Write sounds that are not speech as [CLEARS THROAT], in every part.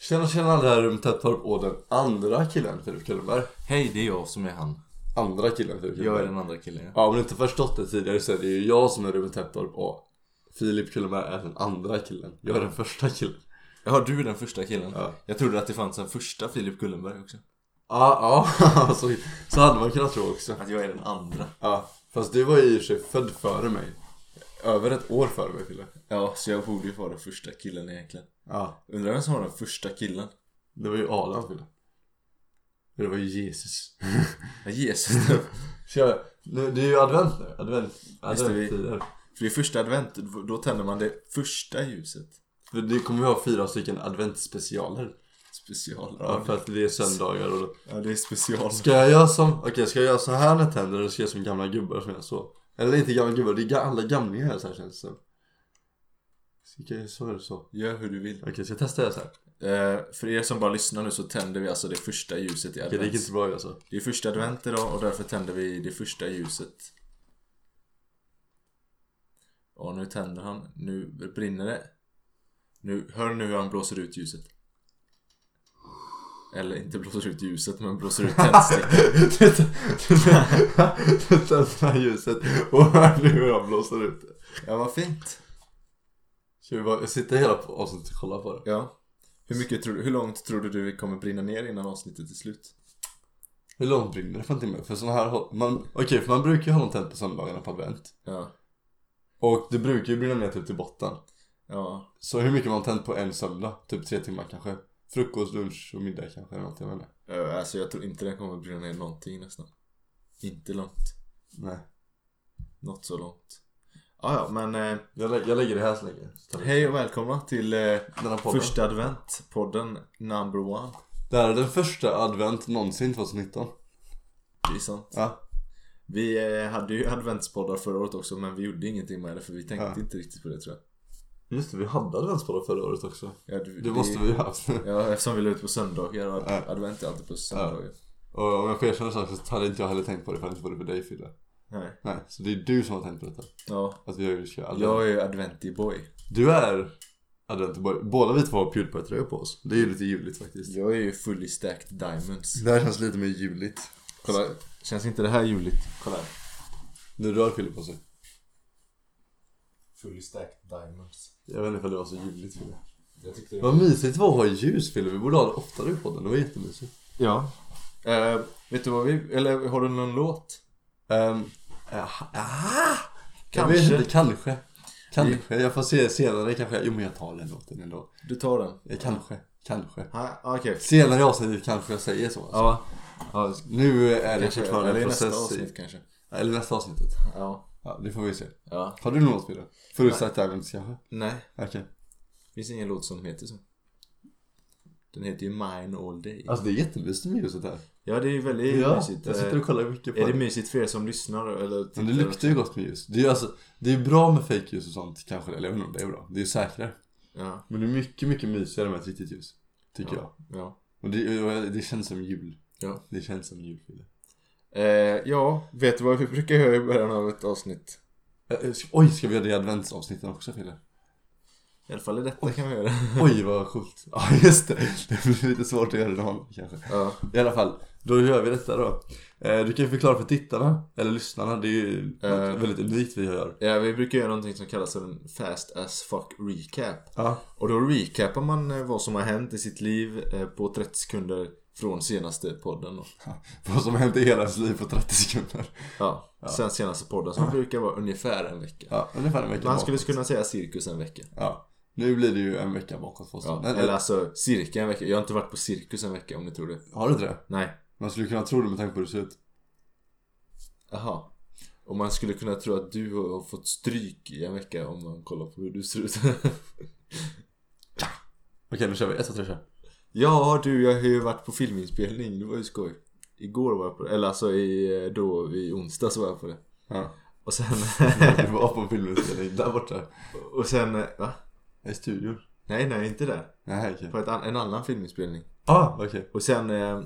Tjena tjena alla rummet tätt på och den andra killen Filip Kullenberg. Hej, det är jag som är han. Andra killen Filip Jag är Kullenberg. den andra killen. ja. Ja om du inte förstått det tidigare så är det ju jag som är rummet tätt på och Filip Kullenberg är den andra killen. Jag är den första killen. Ja, du är den första killen. Ja. Jag trodde att det fanns en första Filip Gullenberg också. Ja, ja, [LAUGHS] så, så hade man kunnat tro också. Att jag är den andra. Ja, fast du var ju i och för sig född före mig. Över ett år före mig Fille. Ja, så jag borde ju vara den första killen egentligen. Ja, Undrar vem som var den första killen? det var ju Adam Fille. Det var ju Jesus. [LAUGHS] Ja, [LAUGHS] Jesus. För Så jag, nu, det är ju advent nu. Advent, Just det, vi- adventtider. det är första advent, då tänder man det första ljuset. För det kommer ju ha fyra stycken adventsspecialer. Special. Ja, för att det är söndagar och Ja, det är special. Ska jag göra som, okej ska jag göra så här när jag tänder eller ska jag göra som gamla gubbar som jag så? Eller inte gamla gubbar, det är ga- alla gamlingar här så här känns det som. Ska jag göra så eller så? Gör hur du vill. Okej, ska jag testa göra så här? Okej, Eh, för er som bara lyssnar nu så tänder vi alltså det första ljuset i advent. det gick inte så bra att göra så. Det är första advent idag och därför tänder vi det första ljuset. Ja, nu tänder han. Nu brinner det. Nu, hör nu hur han blåser ut ljuset. Eller inte blåser ut ljuset, men blåser ut [LAUGHS] tändstickan. Du tänder det här ljuset och hör nu hur han blåser ut det. Ja, vad fint. Ska vi bara sitta hela avsnittet och kolla på det? Ja. Hur, mycket tror, du- hur långt tror du det kommer brinna ner innan avsnittet är slut? Hur långt brinner det för en timme? För sån här, hå- man, okej för man brukar ju ha dem tänt på söndagarna på advent. Ja. Och det brukar ju brinna ner typ till botten. Ja. Så hur mycket har man tänt på en söndag? Typ tre timmar kanske? Frukost, lunch och middag kanske eller någonting, jag vet inte. Eh, Alltså jag tror inte den kommer brinna ner någonting nästan. Inte långt. Nej. Något så långt. Ja, ja, men eh, Jag, lä- jag lägger det här så länge. Så tar vi hej och välkomna till eh, Den här podden. Första advent, podden number one. Det här är den första advent någonsin 2019. Det är sant. Ja. Vi eh, hade ju adventspoddar förra året också men vi gjorde ingenting med det för vi tänkte Ja. inte riktigt på det tror jag. Just det, vi hade adventspoddar förra året också. Ja, du, Det måste vi ju haft. [LAUGHS] Ja, eftersom vi la ut på söndagar och ad- Ja. advent är alltid på söndagar. Och om jag får erkänna saker så hade inte jag heller tänkt på det förrän det var det för dig Fille. Nej. Nej, så det är du som har tänkt på detta. Ja, Att vi ska advent. jag är ju adventig boy. Du är adventboy. Båda vi två har Pewdiepie-tröjor på oss. Det är ju lite juligt faktiskt. Jag är ju fully stacked diamonds. Det här känns lite mer juligt. Kolla, känns inte det här juligt? Kolla här. Nu rör Fille på sig. Fully stacked diamonds. Jag vet inte om det var så juligt Fille. Jag tyckte det Vad mysigt det var att ha ljus Fille, vi borde ha det oftare i podden, det var jättemysigt Ja. Eh, vet du vad vi, eller har du någon låt? um, ah, Jag vet Kanske. inte, kanske Kanske, jag får se senare kanske, jo men jag tar den låten ändå Du tar den? Eh, Kanske, kanske Ha, ah, Okej. Senare i avsnittet kanske jag säger så alltså. Ja. ja Nu är det kanske, eller fortfarande i en nästa process avsnitt i, kanske. Eller nästa avsnittet Ja. Ja, det får vi se ja. Har du någon låt Fille? Förut sagt Diamonds kanske? Nej, Okej det finns ingen låt som heter så. Den heter ju Mine All Day. Alltså det är jättemysigt med ljuset här ja, det är ju väldigt Ja, mysigt. Eh, jag sitter och kollar mycket på är det det mysigt för er som lyssnar eller Men det tittar? luktar ju gott med ljus Det är ju alltså, det är bra med fake ljus och sånt kanske, eller jag vet inte om det är bra Det är ju säkrare Ja, Men det är mycket, mycket mysigare med ett riktigt ljus. Tycker jag. ja. ja. Och det, och det känns som jul. Ja. Det känns som jul. Fille. Eh, ja, vet du vad vi brukar göra i början av ett avsnitt? Ä- ä, ska- Eh, Oj, ska vi göra det i adventsavsnitten också [LAUGHS] Fille? I alla fall i detta kan vi göra. Oj, vad sjukt. Ja, just det. [LAUGHS] Det blir lite svårt att göra det någon, kanske. ja. I alla fall, då gör vi detta då. Eh, Du kan ju förklara för tittarna, eller lyssnarna. Det är ju något Eh. väldigt unikt vi gör. ja, vi brukar göra någonting som kallas för en fast as fuck recap. Ja, [LAUGHS] Och då recapar man eh, vad som har hänt i sitt liv eh, på 30 sekunder från senaste podden. Då. vad som hänt i hela ens liv på 30 sekunder. Ja, sen senaste podden som brukar vara ungefär en vecka. Ja, ungefär en vecka Man bakåt. skulle kunna säga cirkus en vecka. Ja. Nu blir det ju en vecka bakåt för oss. Ja, Nej, eller nej, alltså cirka en vecka. Jag har inte varit på cirkus en vecka om ni tror det. Har du inte det? Nej. Man skulle kunna tro det med tanke på hur det ser ut. Jaha. Och man skulle kunna tro att du har fått stryk i en vecka om man kollar på hur du ser ut. [LAUGHS] Okej, nu kör vi. Ett, två, tre, kör. ja du, jag har ju varit på filminspelning. Det var ju skoj. Igår var jag på det. Eller alltså i, eh, då i onsdags var jag på det. [LAUGHS] Ja. [LAUGHS] Och sen... Du var på filminspelning där borta. och sen... eh, Va? I studion. Nej, nej, inte där. Nej, okej. På ett, an- en annan filminspelning. Ah, okej. [LAUGHS] Och sen, eh,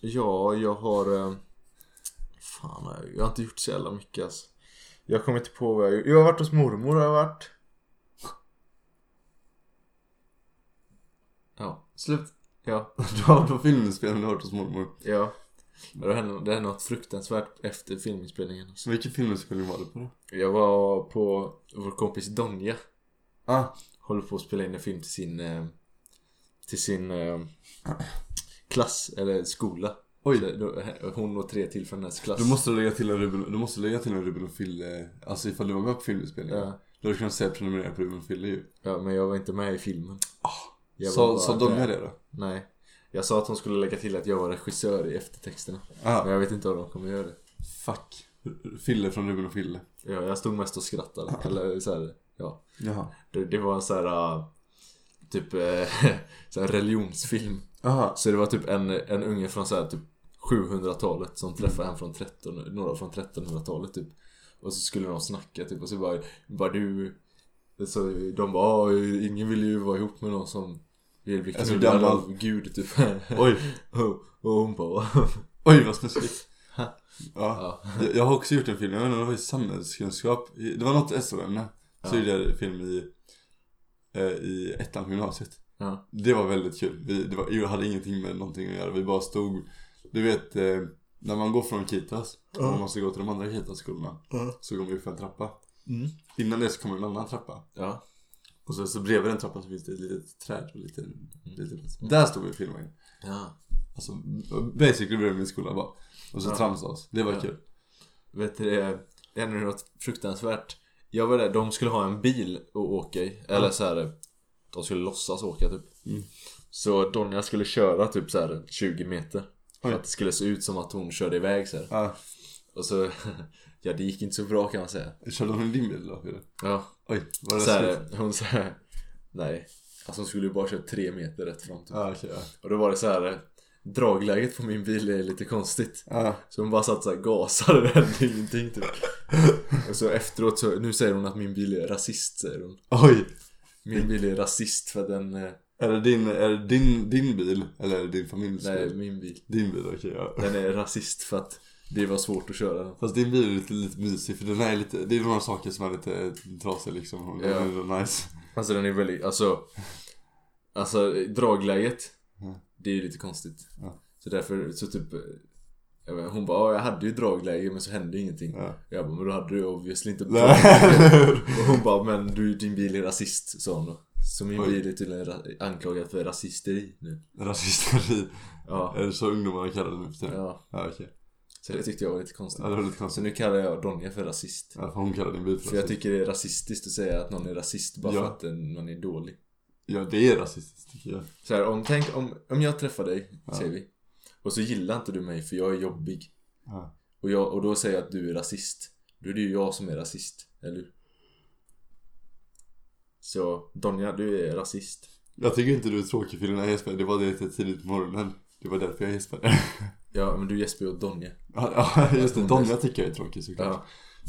ja, jag har... Eh, fan, har jag- jag har inte gjort så jävla mycket alltså. Jag kommer inte på vad jag gjort. Jag har varit hos mormor har jag varit. Ja. Slut. Ja. Du har varit på filminspelning och hört hos mormor. Ja. Men det hände, det hände något fruktansvärt efter filminspelningen. Så vilken filminspelning var det på då? Jag var på vår kompis Donja. Ah, Håller på att spela in en film till sin eh, Till sin eh, Klass eller skola Oj. Så då- eh, Hon och tre till från hennes klass du måste lägga till en Ruben, du måste lägga till en Ruben och Fille, alltså ifall du var med på filminspelningen. ja. Då hade du kunnat säga prenumerera på Ruben och Fille ju. ja men jag var inte med i filmen Ah, Jag var Sa, bara sa där. Donja det då? Nej Jag sa att hon skulle lägga till att jag var regissör i eftertexterna Men Ah, jag vet inte om de kommer göra det fuck. Fille från Ruben och Fille. ja, Jag stod mest och skrattade Eller så här, ja Jaha. det, det var en så här ah, Typ eh, [LAUGHS] så här religionsfilm Jaha. Så det var typ en, en unge från så här typ 700-talet som träffade en från 13, några från 1300-talet typ. Och så skulle de snacka typ och så bara, bara du... Så de bara, "Ah, ingen vill ju vara ihop med någon som vill bli Alltså, knullad gammal. av Gud typ. [LAUGHS] Oj. och, [LAUGHS] och hon bara, [LAUGHS] Oj vad specifikt. Ha. Ja. ja. Jag, jag har också gjort en film, jag vet inte, det var i samhällskunskap. I- Det var något SO-ämne. Så Ja. gjorde jag en film i, eh, i ettan på gymnasiet. ja. Det var väldigt kul. Vi det var, jag hade ingenting med någonting att göra. Vi bara stod, du vet eh, när man går från Kitas och man måste gå till de andra Kitaskolorna. Så går man upp för en trappa. Mm. Innan det så kommer en annan trappa. Ja. Och så, så bredvid den trappan så finns det ett litet träd och lite, Mm. lite plats. Där stod vi och filmade in. ja. Alltså basically bredvid min skola bara. Och så Ja. tramsade oss. Det var Ja. kul. Vet du det, det hände något fruktansvärt. Jag var där, de skulle ha en bil att åka i. Eller så här, de skulle låtsas åka typ. Mm. Så Donja skulle köra typ så här 20 meter. För Oj. att det skulle se ut som att hon körde iväg så här. Ja. Och så, [LAUGHS] ja det gick inte så bra kan man säga. Körde hon i din bil då? Peter? Ja, Oj, var det så slut? här, hon så här, nej. Alltså hon skulle ju bara köra 3 meter rätt fram typ. Ja, okej. ja. Och då var det så här, dragläget på min bil är lite konstigt. Ja. Så hon bara satt såhär gasade och det hände ingenting typ. Och så efteråt så, nu säger hon att min bil är rasist säger hon. Oj! Min bil är rasist för den, eh, Är det din, är det din, din bil? Eller är det din familjs nej bil? min bil. Din bil, okej ja. Den är rasist för att det var svårt att köra den. Fast din bil är lite, lite mysig för den är lite, det är några saker som är lite trasiga liksom. Och Ja. Den är ändå nice. Alltså den är väldigt, alltså. Alltså dragläget. Mm. Det är ju lite konstigt. Ja. Så därför, så typ. eh, jag vet, Hon bara, "Ja, jag hade ju dragläge men så hände ingenting. [LAUGHS] Ja. Jag bara, men då hade du obviously inte Nej, Och [LAUGHS] hon bara, men du, din bil är rasist, sa hon då. Så min Oj. bil är tydligen ra- anklagad för rasisteri nu. Rasisteri. Ja. Är det så ungdomarna kallar det nu för tiden? ja. Ja, okej. Så det tyckte jag var lite konstigt. Ja, det var lite Så konstigt. nu kallar jag Donja för rasist. Ja, för hon kallar din bil för För jag rasist. tycker det är rasistiskt att säga att någon är rasist bara för Ja. att den- någon är dålig. Ja, det är rasistiskt tycker jag. Så här, om, tänk om, om jag träffar dig, Ja. säger vi. Och så gillar inte du mig för jag är jobbig. Ja. Och, jag, och då säger jag att du är rasist. Då är det ju jag som är rasist, eller hur? Så Donja, du är rasist. Jag tycker inte du är tråkig för jag gäspade. Det var det lite tidigt på morgonen. Det var därför jag gäspade. Ja, men du Jesper och Donja. Ja, ja, just det. Donja tycker jag är tråkig såklart. Ja,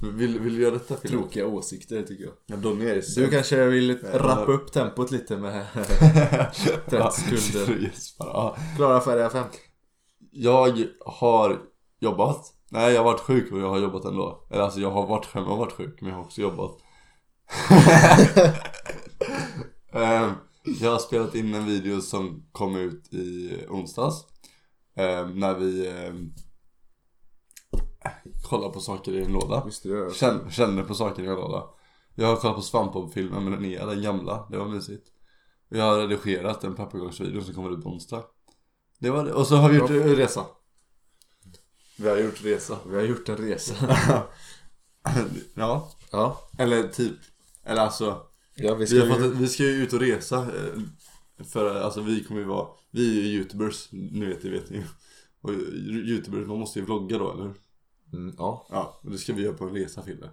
Men Vill, vill du göra detta Fille? tråkiga åsikter tycker jag. Ja, Donja är så... Du kanske vill Ja. rappa upp tempot lite med [LAUGHS] 30 sekunder. Ja. [LAUGHS] Klara färdiga fem. Jag har jobbat. Nej, jag har varit sjuk och jag har jobbat ändå. Eller alltså jag har varit hemma och varit sjuk, men jag har också [LAUGHS] jobbat. Ehm, jag har spelat in en video som kom ut i onsdags. Ehm, när vi um, kollar på saker i en låda. Visste du det? Känner, känner på saker i en låda. Jag har kollat på Svampbob-filmen med Linnea, den gamla. Det var mysigt. Och Jag har redigerat en pappegojsvideo som kommer ut på onsdag. Det var det. Och så har vi gjort Ja. en resa. Vi har gjort resa. Vi har gjort en resa. [LAUGHS] ja. Ja. Eller typ. Eller alltså. ja vi Vi, har fått, ett- vi ska ju ut och resa. eh, För alltså vi kommer ju vara. Vi är ju youtubers. Nu vet det vet ni ju. Och youtubers, man måste ju vlogga då, eller hur? Mm, ja. Ja. Och det ska vi göra på en resa, Fille.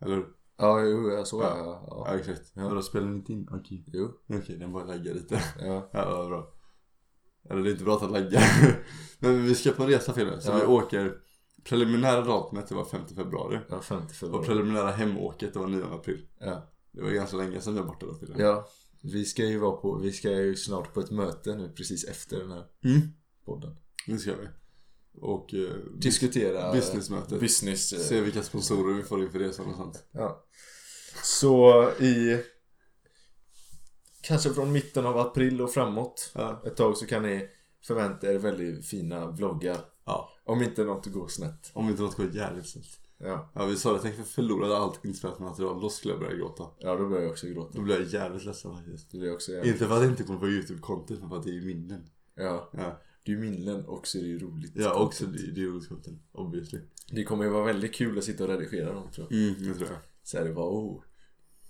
Eller hur? Ja, jo, jag såg det. Ja. Ja. Ja. Ja, exakt. Ja. Ja. Då spelar den inte in? Okej. Jo. Okej, den bara laggar lite. Ja. Ja, vad bra. Eller det är inte bra att den laggar. [LAUGHS] Men vi ska på en resa Fille, så Ja. vi åker preliminära datumet, det var 5 februari. Ja, 50 Och februari. preliminära hemåket, det var 9 april. Ja. Det var ganska länge sedan vi var borta då Fille. ja. Vi ska ju vara på, vi ska ju snart på ett möte nu precis efter den här Mm, podden. nu ska vi. Och eh, Diskutera businessmötet. business eh, Se vilka sponsorer vi får in för resan och sånt. Ja. Så i kanske från mitten av april och framåt. Ja. Ett tag så kan ni förvänta er väldigt fina vloggar. ja. Om inte något går snett. Om inte något går jävligt snett. Ja, Ja vi sa det, tänk för förlorade allt inspelat material. Då skulle jag börja gråta. ja då börjar jag också gråta. Då blir jag jävligt ledsen faktiskt. Det blir också jävligt. Inte för att det inte kommer på YouTube-konto utan för att det är ju minnen. Ja, Ja, det är ju minnen och så är det ju roligt. ja också det, det är roligt content. Obviously. Det kommer ju vara väldigt kul att sitta och redigera dem tror jag. Mm, det tror jag. Så här, det bara oh.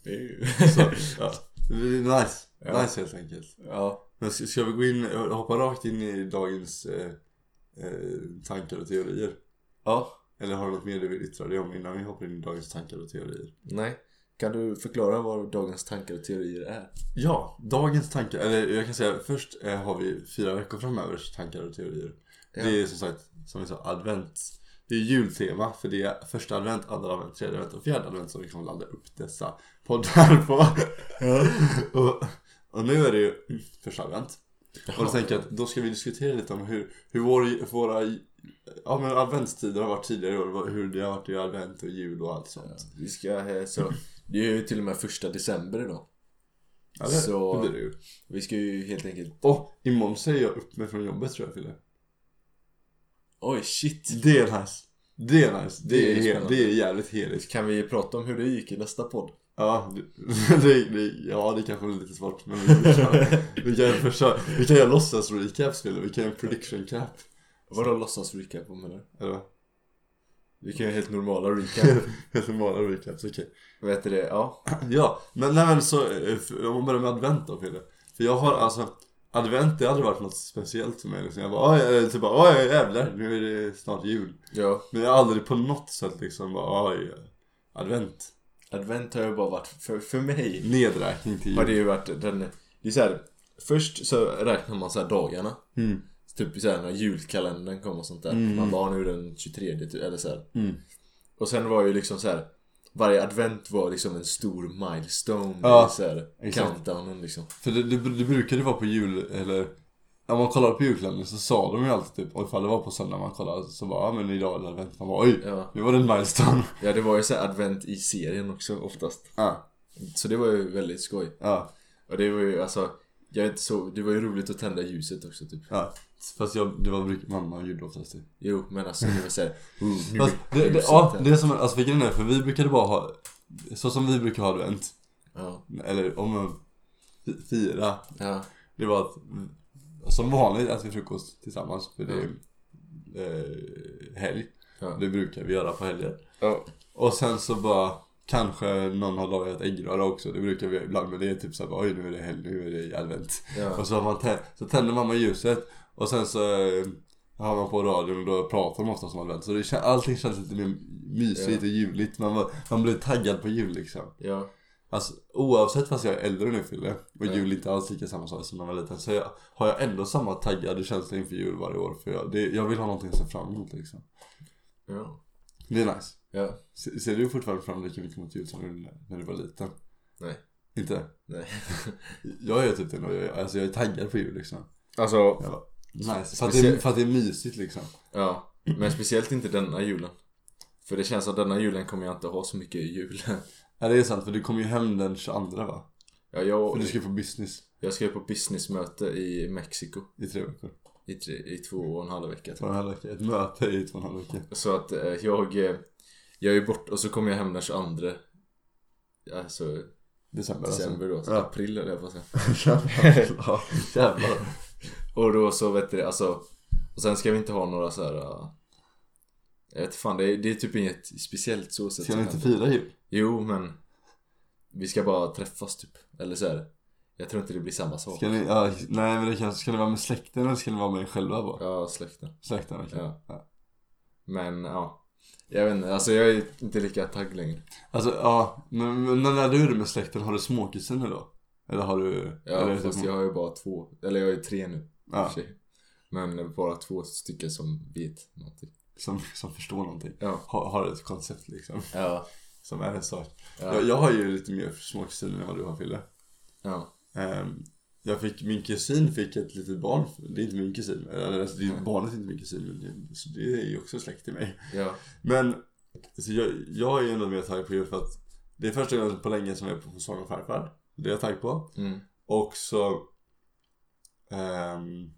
Det är ju... Så, ja. Det är Nice. Ja. Nice helt enkelt. [LAUGHS] ja. Men ska, ska vi gå in, hoppa rakt in i dagens eh, eh, tankar och teorier? Ja. Eller har du något mer du vill yttra dig om innan vi hoppar in i dagens tankar och teorier? Nej. Kan du förklara vad dagens tankar och teorier är? Ja, dagens tankar, eller jag kan säga först eh, har vi fyra veckor framövers tankar och teorier. Ja. Det är som sagt, som vi sa, advent. Det är jultema för det är första advent, andra advent, tredje advent och fjärde advent som vi kommer ladda upp dessa poddar på. [LAUGHS] och, och nu är det ju första advent. Och då tänker jag att då ska vi diskutera lite om hur, hur vår, våra ja, men adventstider har varit tidigare i år. Hur det har varit i advent och jul och allt sånt. Vi ska eh, så... Det är ju till och med första december idag. Ja, det, Så- det blir det ju. Vi ska ju helt enkelt... Och imorgon säger jag upp mig från jobbet tror jag Fille. Oj shit! Det är nice. Det är nice. Det, Det är är, hel, spännande. det är jävligt heligt. Kan vi prata om hur det gick i nästa podd? Ja, det, [LAUGHS] det, det, ja, det kanske är lite svårt men vi, kan- vi kan försöka. Vi kan göra låtsas recap Fille. Vi kan göra en prediction cap. Vadå låtsas recap om det? Eller vad? [LAUGHS] Vi kan göra helt normala recap. Helt normala recaps, okej. [CLEARS THROAT] Vet du det? Ja. Ja, men nej men så, eh, för- om man börjar med advent då Fille. För jag har alltså, advent det har aldrig varit något speciellt för mig liksom. Jag bara, "Oj, eh", typ bara, oj jävlar, nu är det snart jul. Ja. Men jag har aldrig på något sätt liksom bara, oj, eh, advent. Advent har ju bara varit... För, för mig Nedräkning till har jul. det ju varit den... Det är så här, Först så räknar man så här dagarna. Mm. Typ så här när julkalendern kom och sånt där. Mm. Man var nu den 23 typ, eller så här. Mm. Och sen var ju liksom så här. Varje advent var liksom en stor milestone. Ja, i så här, exakt. countdownen liksom. För det, det, det brukade vara på jul, eller när man kollade på julkalendern så sa de ju alltid typ, och ifall det var på söndag man kollade så bara, ja men idag är det advent. Man bara, oj, Ja. nu var det en milestone. ja, det var ju så här advent i serien också oftast. Ja, Så det var ju väldigt skoj. ja, Och det var ju alltså jag är inte så, det var ju roligt att tända ljuset också typ ja. Fast jag, det var bruk- mamma gjorde oftast det. Jo men alltså det var såhär oh, nu Fast det, nu det, ljuset ja, här. det är som, alltså för grejen är, för vi brukade bara ha, så som vi brukar ha advent, ja, eller om man fi- fira, ja, det var att, som vanligt äter vi frukost tillsammans för det är eh, helg. ja, Det brukar vi göra på helger. ja, Och sen så bara Kanske någon har lagat äggröra också, det brukar vi göra ibland men det är typ såhär bara, oj nu är det helg, nu är det advent. ja, Och så, har man tä- så tänder mamma ljuset och sen så eh, har man på radion och då pratar de ofta om advent. Så det, kän- allting känns lite mer mysigt och ljuvligt, man, var, man blir taggad på jul liksom. ja, Alltså oavsett fast jag är äldre nu Fille och Ja. jul inte alls lika samma sak som när man var liten så jag, har jag ändå samma taggade känsla inför jul varje år för jag, det, jag vill ha någonting att se fram emot liksom. ja, Det är nice. ja, Se- Ser du fortfarande fram lika mycket mot jul som du gjorde när du var liten? Nej. Inte? nej [LAUGHS] Jag är typ det nu, jag, alltså jag är taggad på jul liksom. Alltså, Jag bara, nice. För att, det, Speciellt- för att det är mysigt liksom. ja Men speciellt inte denna julen För det känns som denna julen kommer jag inte ha så mycket jul [LAUGHS] Ja det är sant för du kommer ju hem den 22 va? Ja, För jag, du ska på business jag ska ju på businessmöte i Mexiko i tre veckor. i, tre, i två och en halv vecka Två och en halv vecka, ett möte i två och en halv vecka. Så att eh, jag, eh, jag är bort och så kommer jag hem den 22 Alltså December alltså. december då, så [LAUGHS] Ja. april eller vad säga. ja, jävlar. Och då så vet du det, alltså Och sen ska vi inte ha några så här. eh, Jag vet fan, det är, det är typ inget speciellt så sett Ska som ni inte händer. fira jul? Jo men Vi ska bara träffas typ, eller så här. Jag tror inte det blir samma sak Ska ni, ja, nej men det kanske, ska ni vara med släkten eller ska ni vara med er själva bara? Ja, släkten Släkten okej. Ja. Ja. Men ja Jag vet inte, alltså jag är inte lika tagg längre Alltså ja, men, men när du är med släkten, har du småkisen nu då? Eller har du? eller, är Ja, det fast typ- jag har ju bara två, eller jag har ju tre nu ja, sig. Men bara två stycken som vet någonting. som, som förstår någonting. Ja. Har, har ett koncept liksom. Ja. Som är en sak. Ja. Jag, jag har ju lite mer småkusiner än vad du har Fille. Ja. Ehm, jag fick, min kusin fick ett litet barn. Det är inte min kusin. Eller alltså, det är, barnet är inte min kusin. Men det, så det är ju också släkt till mig. Ja. Men så jag, jag är ju ändå mer taggad på jul för att det är första gången på länge som jag är på hos farmor och farfar. Det är jag taggad på. Mm. Och så ehm,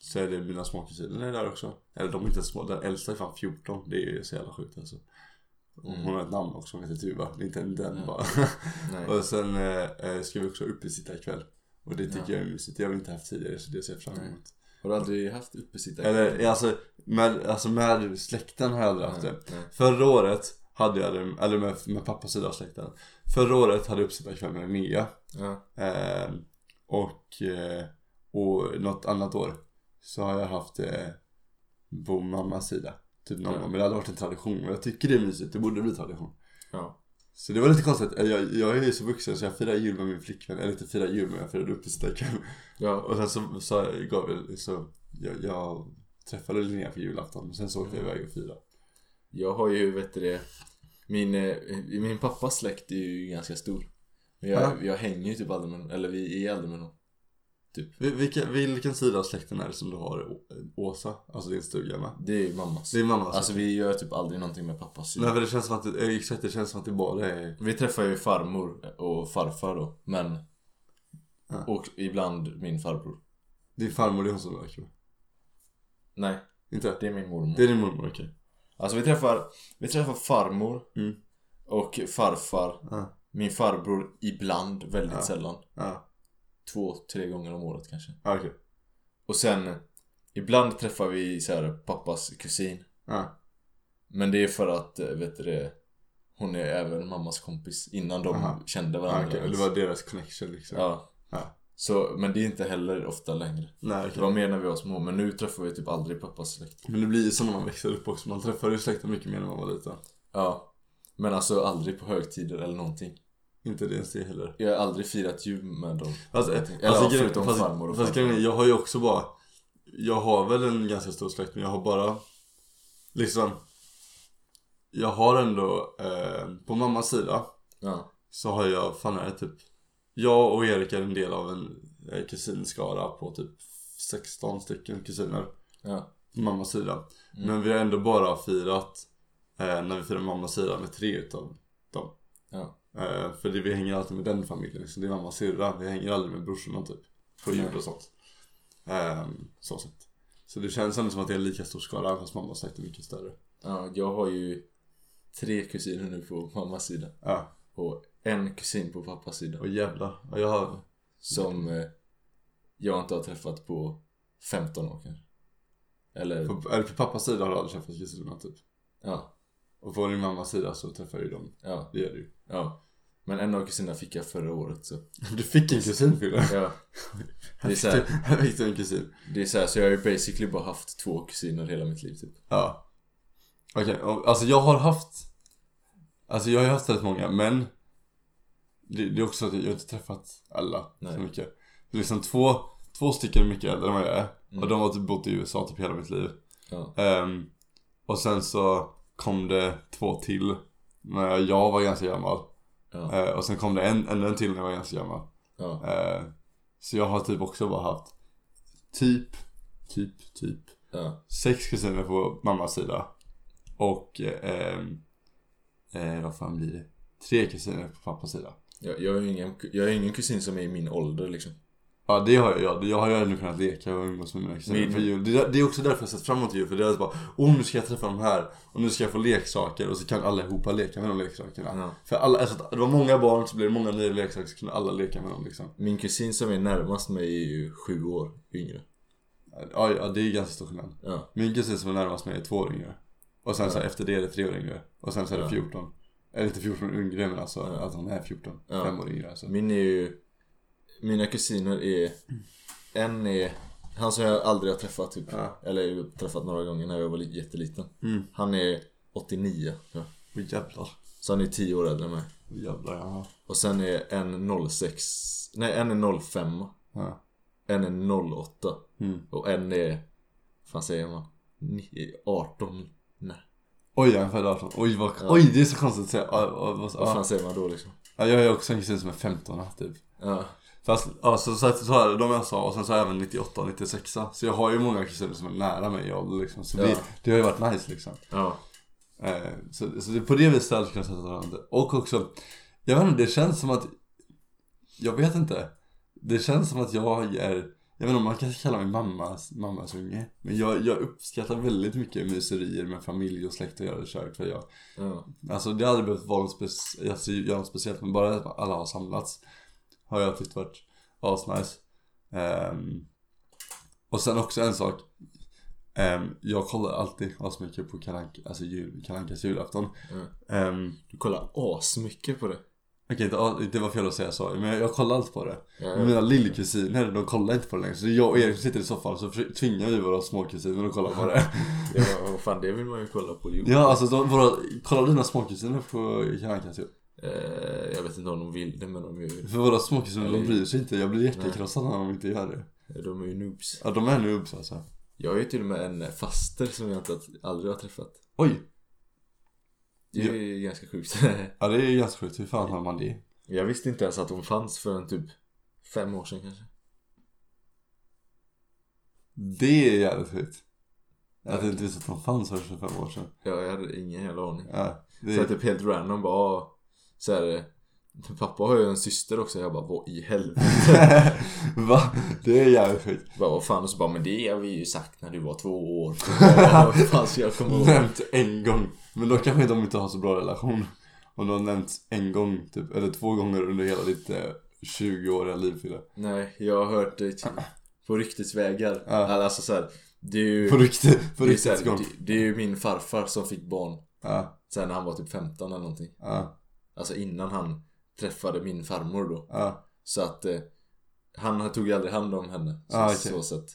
Så är det mina småkusiner är där också Eller de är inte små, den äldsta är fan 14 Det är ju så jävla sjukt alltså Mm. Hon har ett namn också, hon heter Tuva Det är inte en den Mm. bara [LAUGHS] Nej. Och sen eh, eh, ska vi också uppesitta ikväll Och det tycker Ja. jag är mysigt, jag har inte haft tidigare så det ser jag fram emot Har du aldrig haft uppesittarkväll? Eller alltså med, alltså med släkten har jag aldrig haft det Nej, nej. Förra året hade jag det, eller med, med pappas sida av släkten Förra året hade jag uppesittarkväll med Mia Ja. Eh, och, eh, och något annat år så har jag haft det på mammas sida. Typ någon Ja. gång. Men det hade varit en tradition. Och jag tycker det är mysigt. Det borde bli tradition. Ja. Så det var lite konstigt. Eh, Jag, jag är ju så vuxen så jag firar jul med min flickvän. Eller inte firar jul men jag firade upp i stekaren. [LAUGHS] Ja. Och sen så sa jag, gav jag, så jag, jag träffade Linnea på julafton. Och sen så åkte jag iväg och firade. Jag har ju, vet du det, min, eh, min pappas släkt är ju ganska stor. Men jag, Ja. jag hänger ju typ aldrig med någon, eller vi är aldrig med någon. Vil- Vilka, vilken sida av släkten är det som du har Å- Åsa? Alltså din stuga med? Det är ju mammas. Det är mammas. Alltså vi gör typ aldrig någonting med pappas sida. Nej för det känns som att det, eh, exakt, det känns som att det bara är Vi träffar ju farmor och farfar då, men Ja. Och ibland min farbror Din farmor, det är hon som röker va? Nej, Inte? det är min mormor Det är din mormor, okej. Alltså vi träffar, vi träffar farmor Mm. och farfar Ja. Min farbror ibland, väldigt Ja. sällan Ja, Två, tre gånger om året kanske ja, okej. Och sen Ibland träffar vi så här pappas kusin Ja, Men det är för att, eh, vet du det Hon är även mammas kompis innan de Aha. kände ja, varandra okej. Det ens. var deras connection liksom. ja. Ja. Så, men det är inte heller ofta längre Nej, Det okej. var mer när vi var små, men nu träffar vi typ aldrig pappas släkt. Men det blir ju så när man växer upp också. Man träffar ju släkten mycket mer när man var liten. Ja. Men alltså aldrig på högtider eller någonting. Inte det ens det heller. Jag har aldrig firat jul med dem. Alltså, Eller eh, alltså, grejen- förutom fast, farmor och fast farfar. grejen är, jag har ju också bara... Jag har väl en ganska stor släkt, men jag har bara... Liksom... Jag har ändå... Eh, på mammas sida Ja. så har jag, fan är det typ Jag och Erik är en del av en eh, kusinskara på typ 16 stycken kusiner Ja. på mammas sida Mm. Men vi har ändå bara firat eh, när vi firar mammas sida med tre utav dem Ja. eh, För det, vi hänger alltid med den familjen liksom, det är mammas syrra, vi hänger aldrig med brorsorna typ På jul och sånt eh, Så sett Så det känns ändå som att det är en lika stor skara fast mammas släkt är mycket större ja. Jag har ju tre kusiner nu på mammas sida. Ja, Och en kusin på pappas sida. och jävlar, ja, jag har Som eh, jag inte har träffat på 15 år kanske. Eller, på, eller på pappas sida har jag aldrig träffat kusinerna typ ja. Och på din mammas sida så träffar jag ju dem. Ja. Det gör du ju. Ja. Men en av kusinerna fick jag förra året så. [LAUGHS] Du fick en [LAUGHS] kusin Fille. Ja. Här fick så här. du- Här fick du en kusin. Det är så här, så jag har ju basically bara haft två kusiner hela mitt liv typ. Ja. Okej, och- alltså jag har haft. Alltså jag har ju haft rätt många men. Det, det är också att jag har inte träffat alla Nej. så mycket. Det är liksom två, två stycken är mycket äldre än vad jag är. Mm. Och de har typ bott i USA typ hela mitt liv. Ja. Ehm, och sen så kom det två till. När jag var ganska gammal. Ja. Eh, och sen kom det en, ännu en till när jag var ganska gammal. Ja. Eh, Så jag har typ också bara haft typ, typ, typ Ja. sex kusiner på mammas sida. Och, eh, eh, vad fan blir det? Tre kusiner på pappas sida. Jag, jag, har ju ingen, jag har ju ingen kusin som är i min ålder liksom. Ja det har jag, jag, jag har ju ändå kunnat leka och umgås med mina kusiner Min- på jul. Det, är- det är också därför jag sett fram emot jul, för det är bara oh nu ska jag träffa de här och nu ska jag få leksaker och så kan allihopa leka med de leksakerna. Ja. För alla, alltså, det var många barn så blev det många nya leksaker så kunde alla leka med dem liksom. Min kusin som är närmast mig är ju sju år yngre. Ja, ja det är ganska stor skillnad. Ja. Min kusin som är närmast mig är två år yngre. Och sen så Ja. efter det är det tre år yngre. Och sen så är det Ja. 14. Eller inte 14 år yngre men alltså Ja. att hon är 14. Ja. Fem år yngre alltså. Min är ju... Mina kusiner är... En är... Han som jag aldrig har träffat typ. Ja. Eller ju träffat några gånger när jag var li- jätteliten. Mm. Han är 89. Ja. Åh jävlar. Så han är 10 år äldre än mig. Åh jävlar ja. Och sen är en 06... Nej, en är 05. ja. En är 08. Mm. Och en är... fan säger man? Ni- 18? Nej. Oj jag är född 18. Oj vad, Ja. oj det är så konstigt att säga. Ja, vad- vad- Vad ja. fan säger man då liksom? Ja, jag är också en kusin som är 15 här, typ. Ja. Fast alltså så, att- så här, de jag sa och sen så har jag även 98 och 96 Så jag har ju många kusiner som är nära mig i ålder liksom. Så det, Ja. det har ju varit nice liksom. Ja. Eh, Så, så det, på det viset hade jag kunnat sätta varandra. Och också, jag vet inte, det känns som att, jag vet inte. Det känns som att jag är jag vet inte om man kan kalla mig mammas, mammas unge. Men jag, jag uppskattar väldigt mycket myserier med familj och släkt och göra det kört för jag. Ja. Alltså det hade behövt vara en spec- alltså, göra något speciellt men bara att alla har samlats. Har jag tyckt varit asnice. Ehm, och sen också en sak. Ehm, jag kollar alltid asmycket på Kalle Anka- alltså jul, Kalle Ankas julafton. Mm. Ehm, Du kollar asmycket på det. Okej, det- det var fel att säga så. Men jag kollar alltid på det. Ja, Men Mina lillkusiner, de kollar inte på det längre. Så jag och Erik sitter i soffan så försöker- tvingar vi våra småkusiner att kolla på [LAUGHS] det. ja, vad fan det vill man ju kolla på. Jo. Ja, alltså de, våra, kollar dina småkusiner på Kalle Ankas jul? Eh, jag vet inte om de vill det men de är ju, För våra småkusiner, de Eller- bryr sig inte. Jag blir jättekrossad när de inte gör det. de är ju noobs. Ja, de är nu ups alltså. Jag har ju till och med en faster som jag inte, aldrig har träffat. Oj! Det är ju ganska sjukt. Ja, det är ju ganska sjukt. Hur fan har man det? [LAUGHS] jag visste inte ens att hon fanns förrän typ fem år sedan kanske. Det är jävligt sjukt. Att det inte visste att de fanns för 25 år sedan. Ja, jag hade ingen jävla aning. Ja, det Så är... jag typ helt random bara ah, så här, eh, Pappa har ju en syster också. Jag bara vad i helvete. [LAUGHS] [LAUGHS] Va? Det är jävligt sjukt. bara vad fan. Och så bara men det har vi ju sagt när du var två år. [LAUGHS] Så jag bara, Vad fan ska jag komma ihåg? [LAUGHS] Nämnt en gång. Men då kanske de inte har så bra relation. Om de har nämnts en gång, typ, eller två gånger under hela ditt eh, 20-åriga liv, Fille. Nej, jag har hört det typ på ryktesvägar. Ja. Eller Alltså så här, det är ju, På riktigt, på det, är riktigt så här, typ. gång. det, det är ju min farfar som fick barn Ja, sen när han var typ 15 eller någonting. ja, Alltså innan han träffade min farmor då. ja. Så att eh, han tog ju aldrig hand om henne. Så, Ah, okej. så sätt.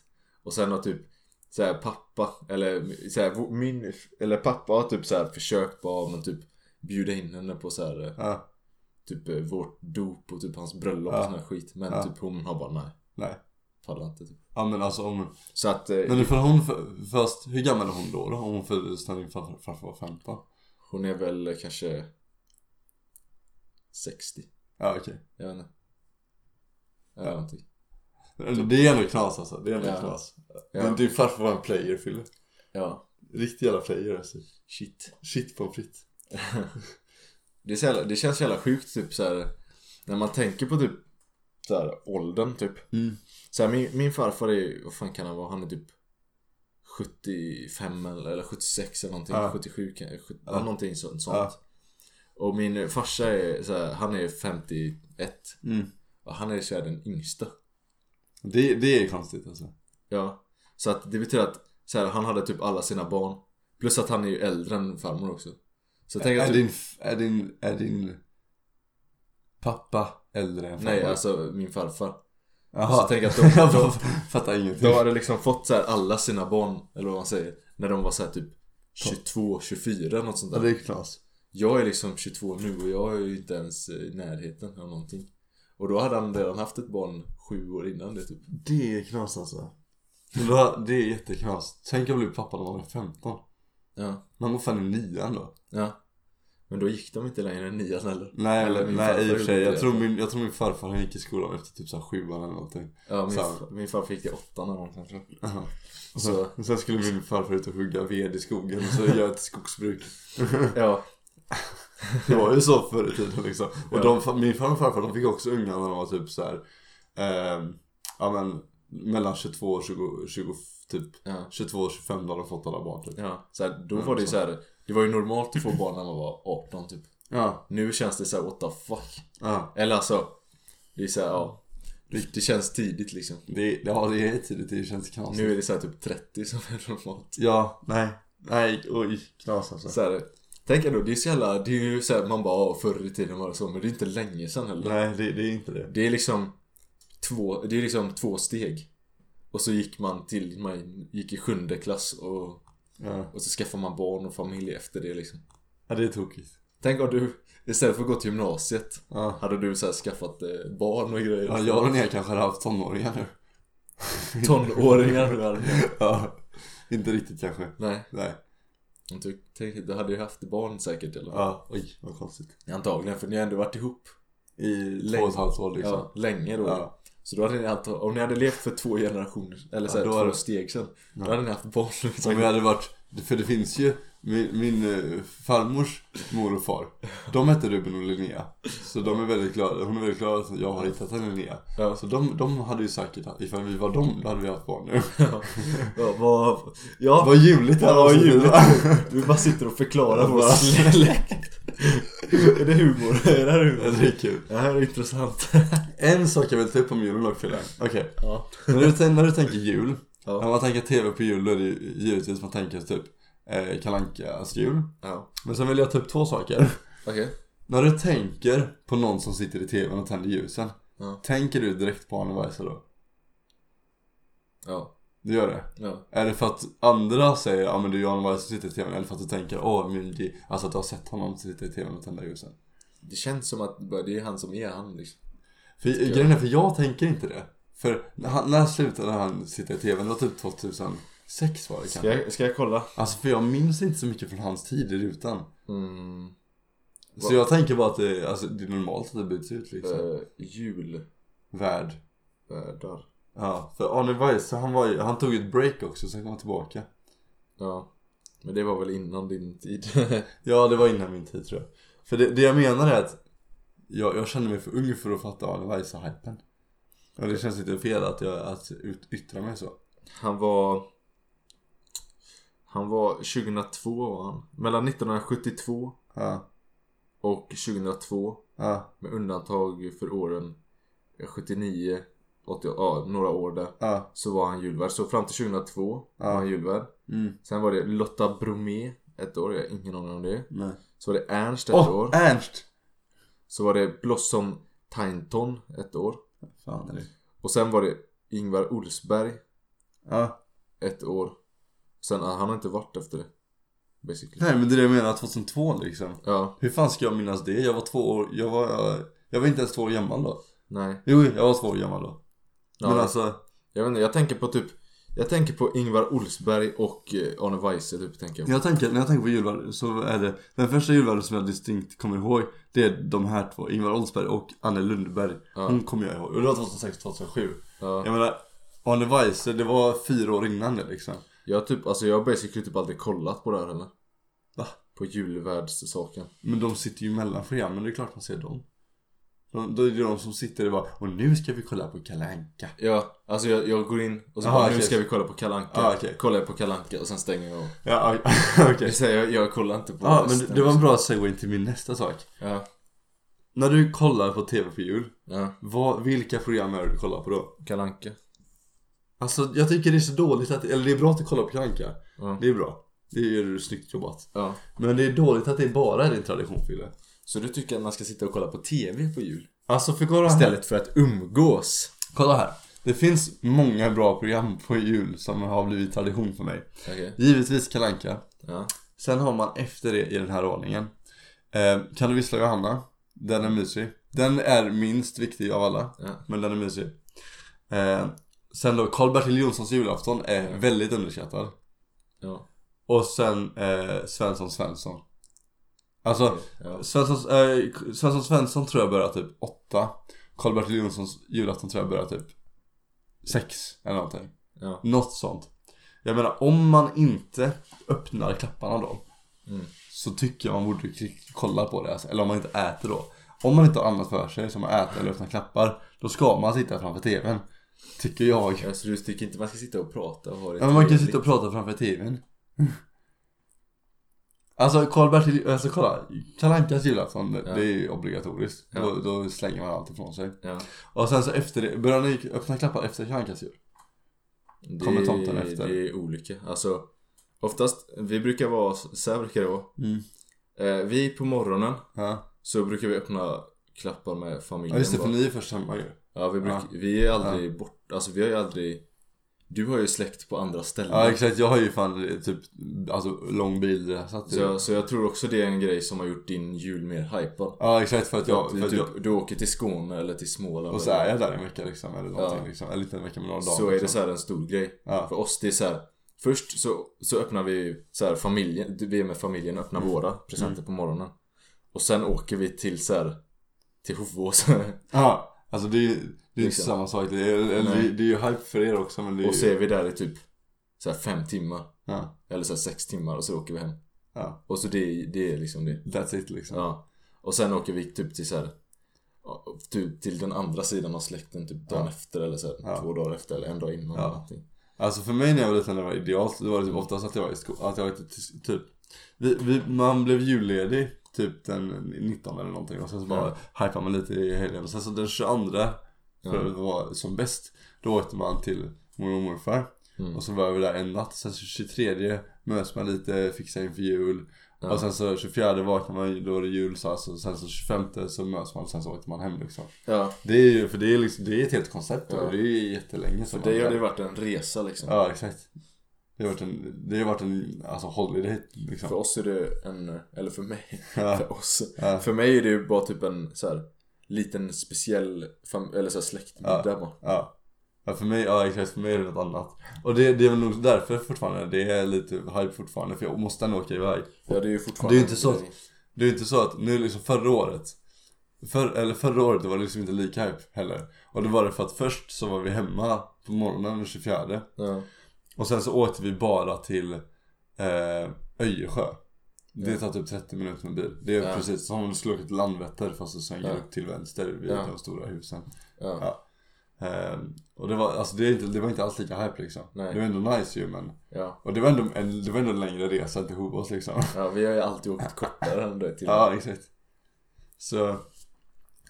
Och sen har typ så här, pappa, eller så här, vår- min, eller pappa har typ så här försökt bara men typ bjuda in henne på så här eh, ja. typ eh, vårt dop och typ hans bröllop Ja. och sån här skit. Men Ja. typ hon har bara nej, Nej. pallar inte typ. Ja men alltså om... Så att eh, Men nu får hon för, först, hur gammal är hon då? då? Om hon föddes när din farfar farfar var 15? Hon är väl kanske 60. Ja okej. Jag vet inte. Eller Ja. någonting. Men Det är ändå knas alltså, det är ändå Ja. knas. Ja. Din, din farfar var en player Fille. Ja. Riktig jävla player alltså. Shit. Shit på fritt. Det, är så jävla, det känns så jävla sjukt typ så här. När man tänker på typ så här, åldern typ. Mm. Så här, min, min farfar är ju- vad fan kan han vara? Han är typ 75 eller, eller 76 eller någonting. Ja. 77 kan, 70, Ja. någonting sånt. Ja. Och min farsa är så här, han är 51. Mm. Och han är så här, den yngsta. Det, det är konstigt alltså. Ja, så att det betyder att så här, han hade typ alla sina barn. Plus att han är ju äldre än farmor också. Så tänk att Är typ, din, f- är din, är din pappa äldre än farfar? nej alltså min farfar. Jaha. Så tänk att [LAUGHS] de, de, jag fattar ingenting. de hade liksom fått så här alla sina barn, eller vad man säger, när de var så här typ 22, 24 något sånt Ja, det där. är knas. Jag är liksom 22 nu och jag är ju inte ens i närheten av någonting. Och då hade han redan haft ett barn sju år innan det typ. Det är knas alltså. Men det här- Det är jätteknas. Tänk om du blev pappa när man var 15. Ja, Man var fan i nian då. ja. Men då gick de inte längre än nian heller. Nej, Eller min farfar nej i och för sig. gjorde Jag det. tror, min, jag tror min farfar han gick i skolan efter typ så här sjuan eller någonting. Ja, min, Så- fa- min farfar fick det åttan eller någonting [LAUGHS] tror jag. Och Så- sen, och sen skulle min farfar ut och hugga ved i skogen och så göra ett skogsbruk. Ja, Det var ju så förr i tiden liksom. Och Ja. de, min farfar och farfar de fick också unga när de var typ så här, ehm, ja men mellan 22 och 20, 20 typ ja, 22 och 25 när de fått alla barn typ. ja. Så här, då Mm, var det ju så. så här. Det var ju normalt att få barn när man var 18 typ Ja, Nu känns det så här, what the fuck ja. Eller alltså Det är så här, ja Det, det känns tidigt liksom Det, ja, det är tidigt, det känns knasigt. Nu är det så här typ 30 som är normalt Ja, nej. Nej, oj, knas alltså. så här, Tänk ändå, det är så jävla, det är ju så här, man bara "Ja, förr i tiden var det så Men det är inte länge sedan heller Nej, det, det är inte det. Det är liksom två, det är liksom två steg Och så gick man till, man gick i sjunde klass och, Ja, och så skaffar man barn och familj efter det liksom ja det är tokigt. Tänk om du istället för att gå till gymnasiet Ja. Hade du så här skaffat eh, barn och grejer? Ja, jag och Linnea kanske hade haft tonåringar nu. [LAUGHS] Tonåringar du hade. Ja, inte riktigt kanske. Nej, Nej. men du, tänk, du hade ju haft barn säkert eller? Ja, oj, vad konstigt. Antagligen, för ni har ändå varit ihop I Länge. två och ett halvt år liksom. ja, länge då Ja. Så då hade ni haft, om ni hade levt för två generationer, eller så Ja, här, då två hade- steg sen Ja. Då hade ni haft barn Om liksom. vi hade varit, för det finns ju Min, min eh, farmors mor och far, de hette Ruben och Linnea. Så de är väldigt glada, hon är väldigt glad att jag har hittat en Linnea. Ja. Så de, de hade ju säkert, att ifall vi var dem, då hade vi haft barn nu. Ja, vad... Ja, Vad ljuvligt det här Ja, vad avsnittet ljuvligt. var. [LAUGHS] du bara sitter och förklarar vår Bara- släkt. [LAUGHS] är det humor? [LAUGHS] Är det här Ja, humor? [LAUGHS] Det är kul. Det här är intressant. En sak jag vill ta upp om julen dock Fille. Okej. [LAUGHS] Ja. När, du tän- när du tänker jul, Ja. när man tänker TV på jul då är det ju givetvis man tänker typ eh, Kalle Ankas jul. ja. Men sen vill jag ta upp två saker. [LAUGHS] Okej. När du tänker på någon som sitter i tvn och tänder ljusen. Ja. Tänker du direkt på Arne Weise då? Ja. Du gör det? Ja. Är det för att andra säger ja men det är ju Arne Weise som sitter i tvn eller för att du tänker åh men det, alltså att du har sett honom sitta i tvn och tända ljusen? Det känns som att bara, det är han som är han liksom. För jag. grejen är, för jag tänker inte det. För när, han, när slutade han sitta i tvn? Det var typ 2006 var det kanske. Ska jag, ska jag kolla? Alltså för jag minns inte så mycket från hans tid i rutan. Mm. Så jag tänker bara att det, alltså, det är normalt att det byts ut liksom. Eh, Julvärdar. Värd. Ja, för Arne Weise han, var ju, han tog ett break också, sen kom han tillbaka. Ja. Men det var väl innan din tid? [LAUGHS] Ja, det var innan min tid tror jag. För det, det jag menar är att jag, jag känner mig för ung för att fatta Arne Weise-hypen. Och det känns lite fel att jag att ut, yttra mig så. han var... Han var 2002 var han. Mellan 1972 Ja, och 2002 ja, Med undantag för åren 79, 80, ja, några år där. ja. Så var han julvärd. Så fram till 2002 var Ja. han julvärd. Mm, Sen var det Lotta Bromé ett år, jag har ingen aning om det. nej. Så var det Ernst ett Åh, år. Ernst! Så var det Blossom Tainton ett år. Fan är det. Och sen var det Ingvar Olsberg Ja. ett år. Sen, ja, han har inte varit efter det. Basically. Nej men det är det jag menar, 2002 liksom. Ja, Hur fan ska jag minnas det? Jag var två år, jag var, jag, jag var inte ens två år gammal då. nej. Jo, jag var två år gammal då. Ja, Men alltså, Jag vet inte, jag tänker på typ jag tänker på Ingvar Olsberg och eh, Arne Weise typ tänker jag. när jag tänker, när jag tänker på julvärden så är det, den första julvärden som jag distinkt kommer ihåg, det är de här två, Ingvar Oldsberg och Anne Lundberg. Ja. Hon kommer jag ihåg. Och det var 2006-2007. Ja. Jag menar, Arne Weise, det var fyra år innan det liksom. Jag har typ, alltså jag har basically typ aldrig kollat på det här heller. Va? På julvärdssaken. Men de sitter ju mellan programmen, det är klart man ser dem. De, då är det de som sitter och bara, och nu ska vi kolla på Kalle Anka. Ja, alltså jag, jag går in och så Aha, bara, nu okej. ska vi kolla på Kalle Anka. Ah, okej. Kollar jag på Kalle Anka och sen stänger jag av. Ja, [LAUGHS] okej. Det vill säga, jag, jag kollar inte på Ja, men resten. det- det var en bra segway till min nästa sak. Ja, När du kollar på TV på jul, ja. vad, vilka program är det du kollar på då? Kalle Anka. Alltså jag tycker det är så dåligt att, eller det är bra att du kollar på Kalle Anka. Ja. Det är bra. Det är ju snyggt jobbat. ja. Men det är dåligt att det bara är din tradition Fille. Så du tycker att man ska sitta och kolla på TV på jul? Alltså för kolla här. Istället för att umgås? Kolla här. Det finns många bra program på jul som har blivit tradition för mig. Okej. Givetvis Kalle Anka. Ja. Sen har man efter det i den här ordningen. Eh, kan du vissla Johanna? Den är mysig. Den är minst viktig av alla. ja. Men den är mysig. Eh, sen då, Karl-Bertil Jonssons julafton är väldigt underskattad. Ja. Och sen eh, Svensson Svensson. Alltså, Ja. Svensson, eh, Svensson Svensson tror jag börjar typ 8. Karl-Bertil Jonssons julafton tror jag börjar typ 6 eller någonting. Ja. Något sånt. Jag menar, om man inte öppnar klapparna då. Mm. Så tycker jag man borde k- kolla på det. Alltså. Eller om man inte äter då. Om man inte har annat för sig som att äta eller öppna klappar. Då ska man sitta framför TVn. Tycker jag. ja. Så du tycker inte man ska sitta och prata och ha det Ja, men man kan trevligt? sitta och prata framför TVn. Alltså Karl-Bertil, alltså kolla. Kalle Ankas julafton, Ja. det är ju obligatoriskt. Ja. Då, då slänger man allt ifrån sig. Ja. Och sen så efter det, börjar ni öppna klappar efter typ? Kalle Ankas jul? Det, Kommer tomten efter? Det är olika. Alltså, oftast, vi brukar vara, så här brukar det vara. Mm. Eh, vi på morgonen Ja. så brukar vi öppna klappar med familjen. ja just det, för bara. ni är först hemma ju. ja, vi, brukar, Ja. vi är aldrig borta, alltså vi har ju aldrig Du har ju släkt på andra ställen. Ja exakt, jag har ju fan typ, alltså lång bil. Så att, så, jag, så jag tror också det är en grej som har gjort din jul mer hypad. Ja exakt för att jag, Ja, för att typ, jag Du åker till Skåne eller till Småland. och så är jag där en vecka liksom eller någonting Ja. liksom, eller inte en vecka men några dagar så är det liksom. så här en stor grej. Ja. För oss det är så här. Först så, så öppnar vi så här familjen, vi är med familjen och öppnar Mm. våra presenter på morgonen. Och sen åker vi till så här, till [LAUGHS] Hovås. Ja, alltså det är ju det är ju inte Liksom. samma sak, det är, eller, det, Nej. är- det är ju hype för er också men det är och så ju, är vi där i typ så här fem timmar. ja. Eller så här sex timmar och så åker vi hem. Ja. Och så det, det är liksom det. That's it liksom. Ja. Och sen åker vi typ till så här, ja, typ till den andra sidan av släkten typ dagen Ja. efter eller så här, Ja. två dagar efter eller en dag innan. Ja. eller någonting. Alltså för mig när jag var liten det var idealt, det var det typ oftast att jag var i skolan, att jag var ute till- typ vi, vi, Man blev julledig typ den 19 eller någonting och sen så bara hypade man lite i helgen och sen så den 22 för det var som bäst Då åkte man till mormor och morfar Mm. och så var vi där en natt, sen så 23 mös man lite, fixade inför jul Ja. och sen så 24 vaknade man, då är det jul så alltså, sen så 25 så mös man, sen så åkte man hem liksom Ja, Det är ju, för det är liksom, det är ett helt koncept Ja. och det är jättelänge för som man- dig har det varit en resa liksom. Ja, exakt. Det har varit en, det har varit en alltså, holiday liksom. För oss är det en, eller för mig, [LAUGHS] Ja, för oss. Ja. För mig är det ju bara typ en så här liten speciell fam- eller så här släktmiddag bara. ja. ja, för mig, ja exakt, för mig är det något annat. Och det, det är väl nog därför fortfarande, det är lite hype fortfarande för jag måste ändå åka iväg. Ja, det är ju Det är fortfarande ju inte så. Det är inte så att, nu liksom förra året för, eller förra året var det liksom inte lika hype heller. Och det var det för att först så var vi hemma på morgonen den 24 Ja. och sen så åkte vi bara till eh, Öjersjö. Det Ja. tar typ 30 minuter med bil. Det är Ja. precis som om du skulle åka till Landvetter fast du svänger Ja. upp till vänster vid Ja. de stora husen. Ja. Ja. Ehm, och det var, alltså det, är inte, det var inte alls lika hype liksom. Nej. Det var ändå nice ju men. ja. Och det var ändå en, det var ändå en längre resa till Hovås liksom. [LAUGHS] Ja, vi har ju alltid åkt kortare än det till. ja exakt. Så.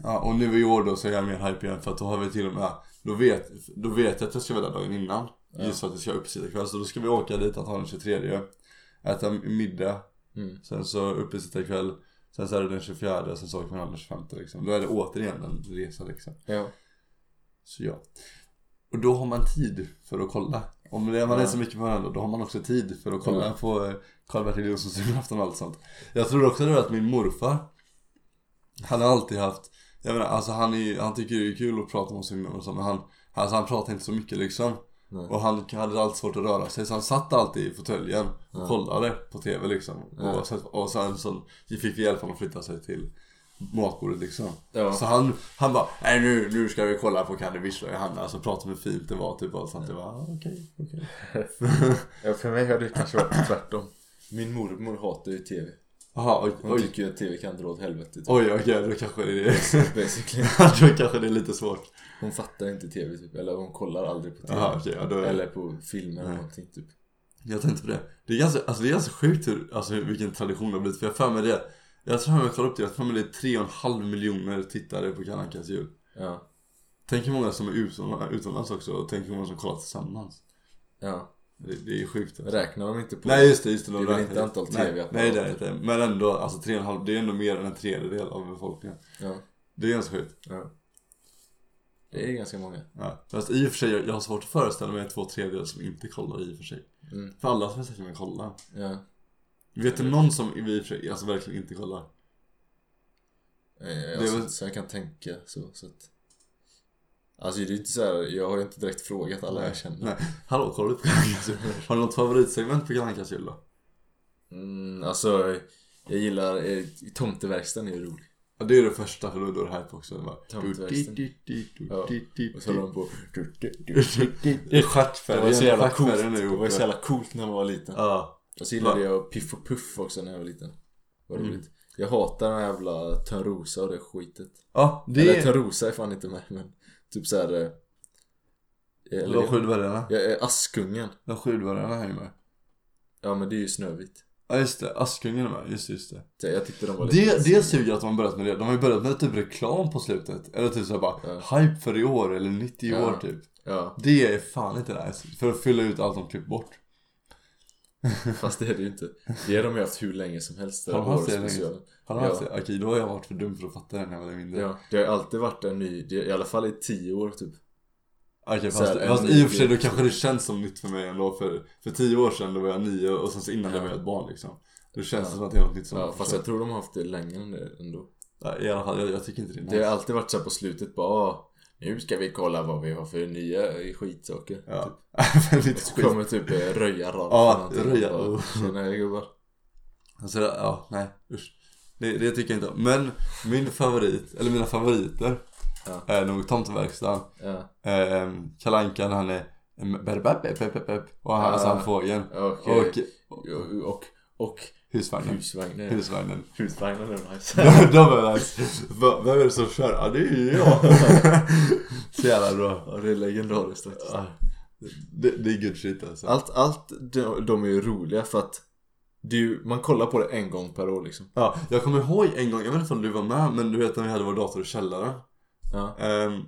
Ja och nu i år då så är jag mer hype igen för att då har vi till och med, då vet, då vet jag att jag ska vara där dagen innan. Ja. Just för att jag ska upp sida kväll. Så då ska vi åka dit antagligen den 23. Äta middag. Mm. Sen så uppe sitta kväll Sen så är det den 24 sen så åker man den 25 liksom. Då är det återigen en resa liksom. Ja. Så ja. Och då har man tid för att kolla. Om det, man Ja. är så mycket på varandra då har man också tid för att kolla Ja. på eh, Karl-Bertil Jonssons julafton och allt sånt. Jag tror också det var att min morfar Han har alltid haft Jag menar alltså han, är, ju- han tycker det är kul att prata om sin mor och så men han Alltså han pratar inte så mycket liksom. Nej. Och han hade allt svårt att röra sig så han satt alltid i fåtöljen och Ja. kollade på TV liksom. Ja. Och, sen, och sen så fick vi hjälp honom att flytta sig till matbordet liksom. Ja. Så han, han bara nej nu, nu ska vi kolla på Candy Wish och Johanna. Alltså prata om hur fint det var typ och sånt. Det var ah, okej, okej. ja, för mig har det kanske varit tvärtom. Min mormor hatar ju TV. Jaha, oj, Hon oj. tycker ju att TV kan dra åt helvete. Typ. Oj, okej, då kanske det är [LAUGHS] Basically. Då kanske det är lite svårt. Hon fattar inte TV typ. Eller hon kollar aldrig på TV. Jaha, okej, ja, då är Eller på filmer eller Nej. någonting typ. Jag tänkte på det. Det är ganska, alltså det är ganska sjukt hur, alltså hur- vilken tradition det har blivit. För jag har för mig det. Jag tror jag kollade upp det. Jag har för mig det är tre och en halv miljoner tittare på Kalle Ankas jul. Ja. Tänk hur många som är utom- utomlands också och tänk hur många som kollar tillsammans. Ja. Det, det är sjukt. Alltså. Räknar de inte på Nej just det, just det. Det de är väl räknar inte antal Nej, TV-apparater. nej det är det inte. Men ändå, alltså tre och en halv, det är ändå mer än en tredjedel av befolkningen. Ja. Det är ganska sjukt. ja. Det är ganska många. Ja. Fast i och för sig, jag, jag har svårt att föreställa mig två tredjedelar som inte kollar i och för sig. Mm. För alla som är säkert med kollar. Ja. Eh, Vet du någon som i och för sig, alltså verkligen inte kollar? Eh, Det Alltså, var- Så jag kan tänka så. så att... Alltså det är ju inte så här, jag har ju inte direkt frågat alla jag känner. Nej. Hallå, kollar du på Kalle Ankas [LAUGHS] jul? Har du något favoritsegment på Kalle Ankas jul då? Mm, alltså, jag gillar... Eh, tomteverkstan är ju rolig. Ja, det är det första, för då då är det här på också. Det bara- Tomtverkstan. Du- du- du- du- Ja. du- du- Och så du- håller de på... Det är Det stjärtfärgen, var ju så jävla coolt. stjärtfärgen Det är var ju ihop. så jävla coolt när man var liten. Ja, Och så gillade jag Piff och Puff också när jag var liten. Vad Mm. roligt. Jag hatar den här jävla Törnrosa och det skitet. ja Eller det är... Törnrosa är fan inte med men typ såhär... De Eller, sju dvärgarna. jag är Askungen. De sju dvärgarna är ju med. Ja men det är ju Snövit. Ja just det, Askungen är med. Just det, just det. Så Jag tyckte de var lite... Det, det suger att de har börjat med det. De har ju börjat med typ reklam på slutet. Eller typ såhär bara hype för i år eller 90 Ja. år typ. Ja, Det är fan inte nice. För att fylla ut allt de klippt bort. fast det är det ju inte. Det har de ju haft hur länge som helst. Har de haft det länge? Årspecialen. Har du Ja. haft det? Okej, då har jag varit för dum för att fatta det när jag var mindre. Ja, det har ju alltid varit en ny, det, i alla fall i tio år typ. Okej, Så här, fast, en fast ny i och för sig då grej. kanske det känns som nytt för mig ändå. För, för tio år sedan då var jag nio och sen så innan det var jag ett barn liksom. Då känns det som att det är något nytt som Ja, fast jag tror de har haft det längre än det ändå. Ja, I alla fall, jag, jag tycker inte det är nice. Det har alltid varit så här på slutet bara "Ah, Nu ska vi kolla vad vi har för nya skitsaker. Ja, [LAUGHS] väldigt Så skit. kommer typ eh, Röja-Ralf Ja, eller någonting. Röja. Bara, Tjena gubbar. Alltså, ja, nej, usch. Det, det tycker jag inte om. Men min favorit, eller mina favoriter Ja. är nog Tomteverkstan. Ja, Eh, Kalle Anka när han är mm, bepp, bepp, bepp, bepp, bepp, och han, alltså han Ah, fågeln. okej. Och, Och, och, Och Husvagnen. husvagnen. Husvagnen. [LAUGHS] Husvagnen är nice. De bara "Va- Vem är det som kör? Ja det är ju [LAUGHS] jag. Så jävla bra. Ja, det är legendariskt faktiskt. Ja. Det, det är good shit alltså. Allt, allt de, de är ju roliga för att det är ju, man kollar på det en gång per år liksom. Ja, jag kommer ihåg en gång, jag vet inte om du var med, men du vet när vi hade vår dator i källaren. Ja. Ehm,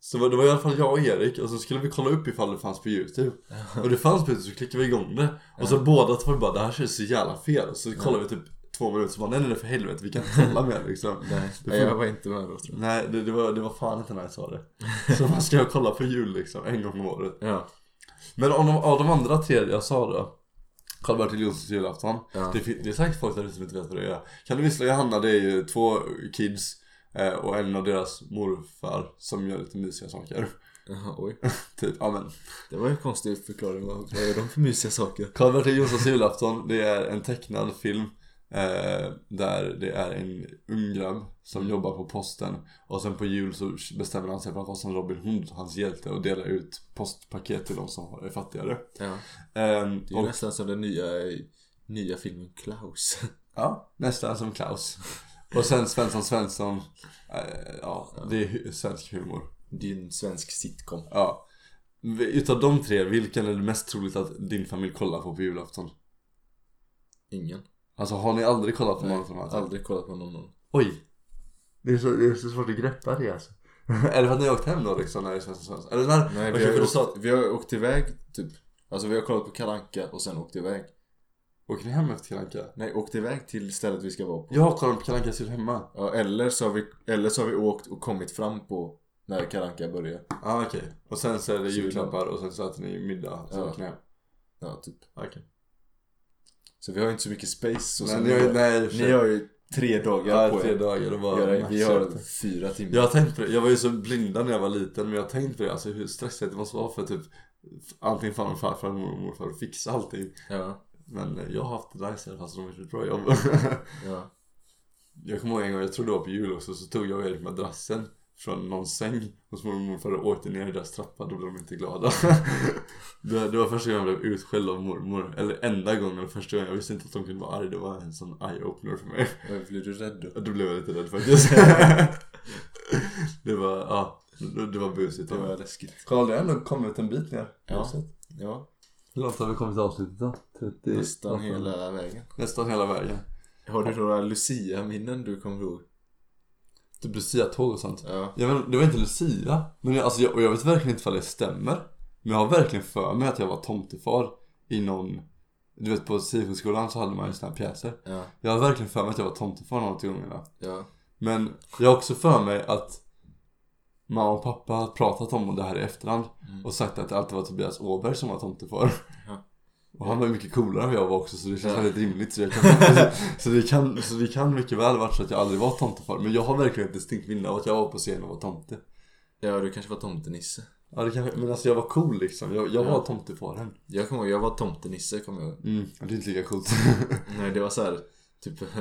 så var, det var i alla fall jag och Erik och så skulle vi kolla upp ifall det fanns på youtube Och det fanns på youtube så klickade vi igång det Och så båda två bara det här känns så jävla fel Och så kollade vi typ två minuter så bara nej nej nej, för helvete vi kan inte kolla mer liksom Nej, Det nej, får- jag var inte med då tror Nej det, det, var, det var fan inte när jag sa det Så man ska jag kolla på jul liksom en gång om året jag. Ja. Men av de, av de andra tre jag sa då Karl-Bertil Jonssons julafton Ja. det, fin- det är säkert folk där ute som inte vet vad det är Kalle Vissla och Johanna det är ju två kids eh, Och en av deras morfar som gör lite mysiga saker Jaha, oj. Typ, ja men Det var ju en konstig förklaring. Vad vad är de för mysiga saker? Karl-Bertil Jonssons julafton det är en tecknad film eh, Där det är en ung grabb Mm. som jobbar på posten Och sen på jul så bestämmer han sig för att vara som Robin Hood, hans hjälte Och delar ut postpaket till de som har- är fattigare Ja. Ehm, Det är ju nästan som den nya, nya filmen Klaus. [LAUGHS] Ja, nästan som Klaus. Och sen Svensson Svensson. Eh, ja, det är hu- svensk humor. Det är ju en svensk sitcom. Ja. V- Utav de tre, vilken är det mest troligt att din familj kollar på på julafton? Ingen. Alltså har ni aldrig kollat på någon av de här? tre? Aldrig kollat på någon annan. Oj! Det är, så, det är så svårt att greppa det alltså. [LAUGHS] är det för att ni har åkt hem då liksom när det är Svensson Svensson? Eller när? Nej, okej, vi, har för ju du sa åkt, vi har ju åkt iväg typ. Alltså vi har kollat på Kalle Anka och sen åkt iväg. åker ni hem efter Kalle Anka? Nej, åkt iväg till stället vi ska vara på. Jag kollar på Kalle Ankas jul hemma. Ja, eller, så har vi, eller så har vi åkt och kommit fram på när Kalle Anka börjar. Ja, ah, okej. Och sen så är det Så vi- julklappar och sen så äter ni middag. Så Ja. åker ni hem. Ja, typ. Okej. Så vi har ju inte så mycket space. Och Nej, sen ni har ju... Nej, i och för sig. ni har ju tre dagar Ja, på tre er. dagar och bara Göra, vi maxar har det. fyra timmar. Jag har tänkt på det, jag var ju så blinda när jag var liten men jag har tänkt på det, alltså hur stressigt det måste vara för typ Antingen farmor, farfar, mormor och morfar och fixa allting Ja, Men eh, jag har haft det nice i alla fall så de har gjort ett bra jobb [LAUGHS] ja. Jag kommer ihåg en gång, jag tror det var på jul också, så tog jag och Erik madrassen från någon säng hos mormor och morfar och åkte ner i deras trappa, då blev de inte glada [LAUGHS] det, det var första gången jag blev utskälld av mormor, eller enda gången och första gången, jag visste inte att de kunde vara arg, det var en sån eye-opener för mig [LAUGHS] Oj, Blir du rädd då? Ja, Då blev jag lite rädd faktiskt. [LAUGHS] det var, ja, det- det var busigt. Det var läskigt. Karl, det har ändå kommit en bit ner. Ja. Ja, Hur långt har vi kommit till avslutet då? 30, nästan hela vägen. Nästan hela vägen. Har du några Lucia-minnen du kommer ihåg? Typ Lucia-tåg och sånt. Ja. Jag vet, det var inte Lucia. Men jag, alltså, jag, och jag vet verkligen inte ifall det stämmer. Men jag har verkligen för mig att jag var tomtefar i någon... Du vet på Sifoskolan så hade man ju såna här pjäser. Ja, Jag har verkligen för mig att jag var tomtefar någon av gångerna. ja. Men jag har också för mig att mamma och pappa har pratat om det här i efterhand Mm. och sagt att det alltid var Tobias Åberg som var tomtefar. Ja. Och han var ju mycket coolare än vad jag var också så det känns Ja. väldigt rimligt. Så, jag kan, [LAUGHS] så, det kan, så det kan mycket väl varit så att jag aldrig var tomtefar. Men jag har verkligen ett distinkt minne av att jag var på scen och var tomte. ja, du kanske var tomtenisse. Ja, det kanske, men alltså jag var cool liksom. Jag, jag Ja. var tomtefaren. Jag kommer ihåg, jag var tomtenisse kommer jag ihåg. Mm. Det är inte lika [LAUGHS] coolt. Nej, det var så här, typ, [LAUGHS]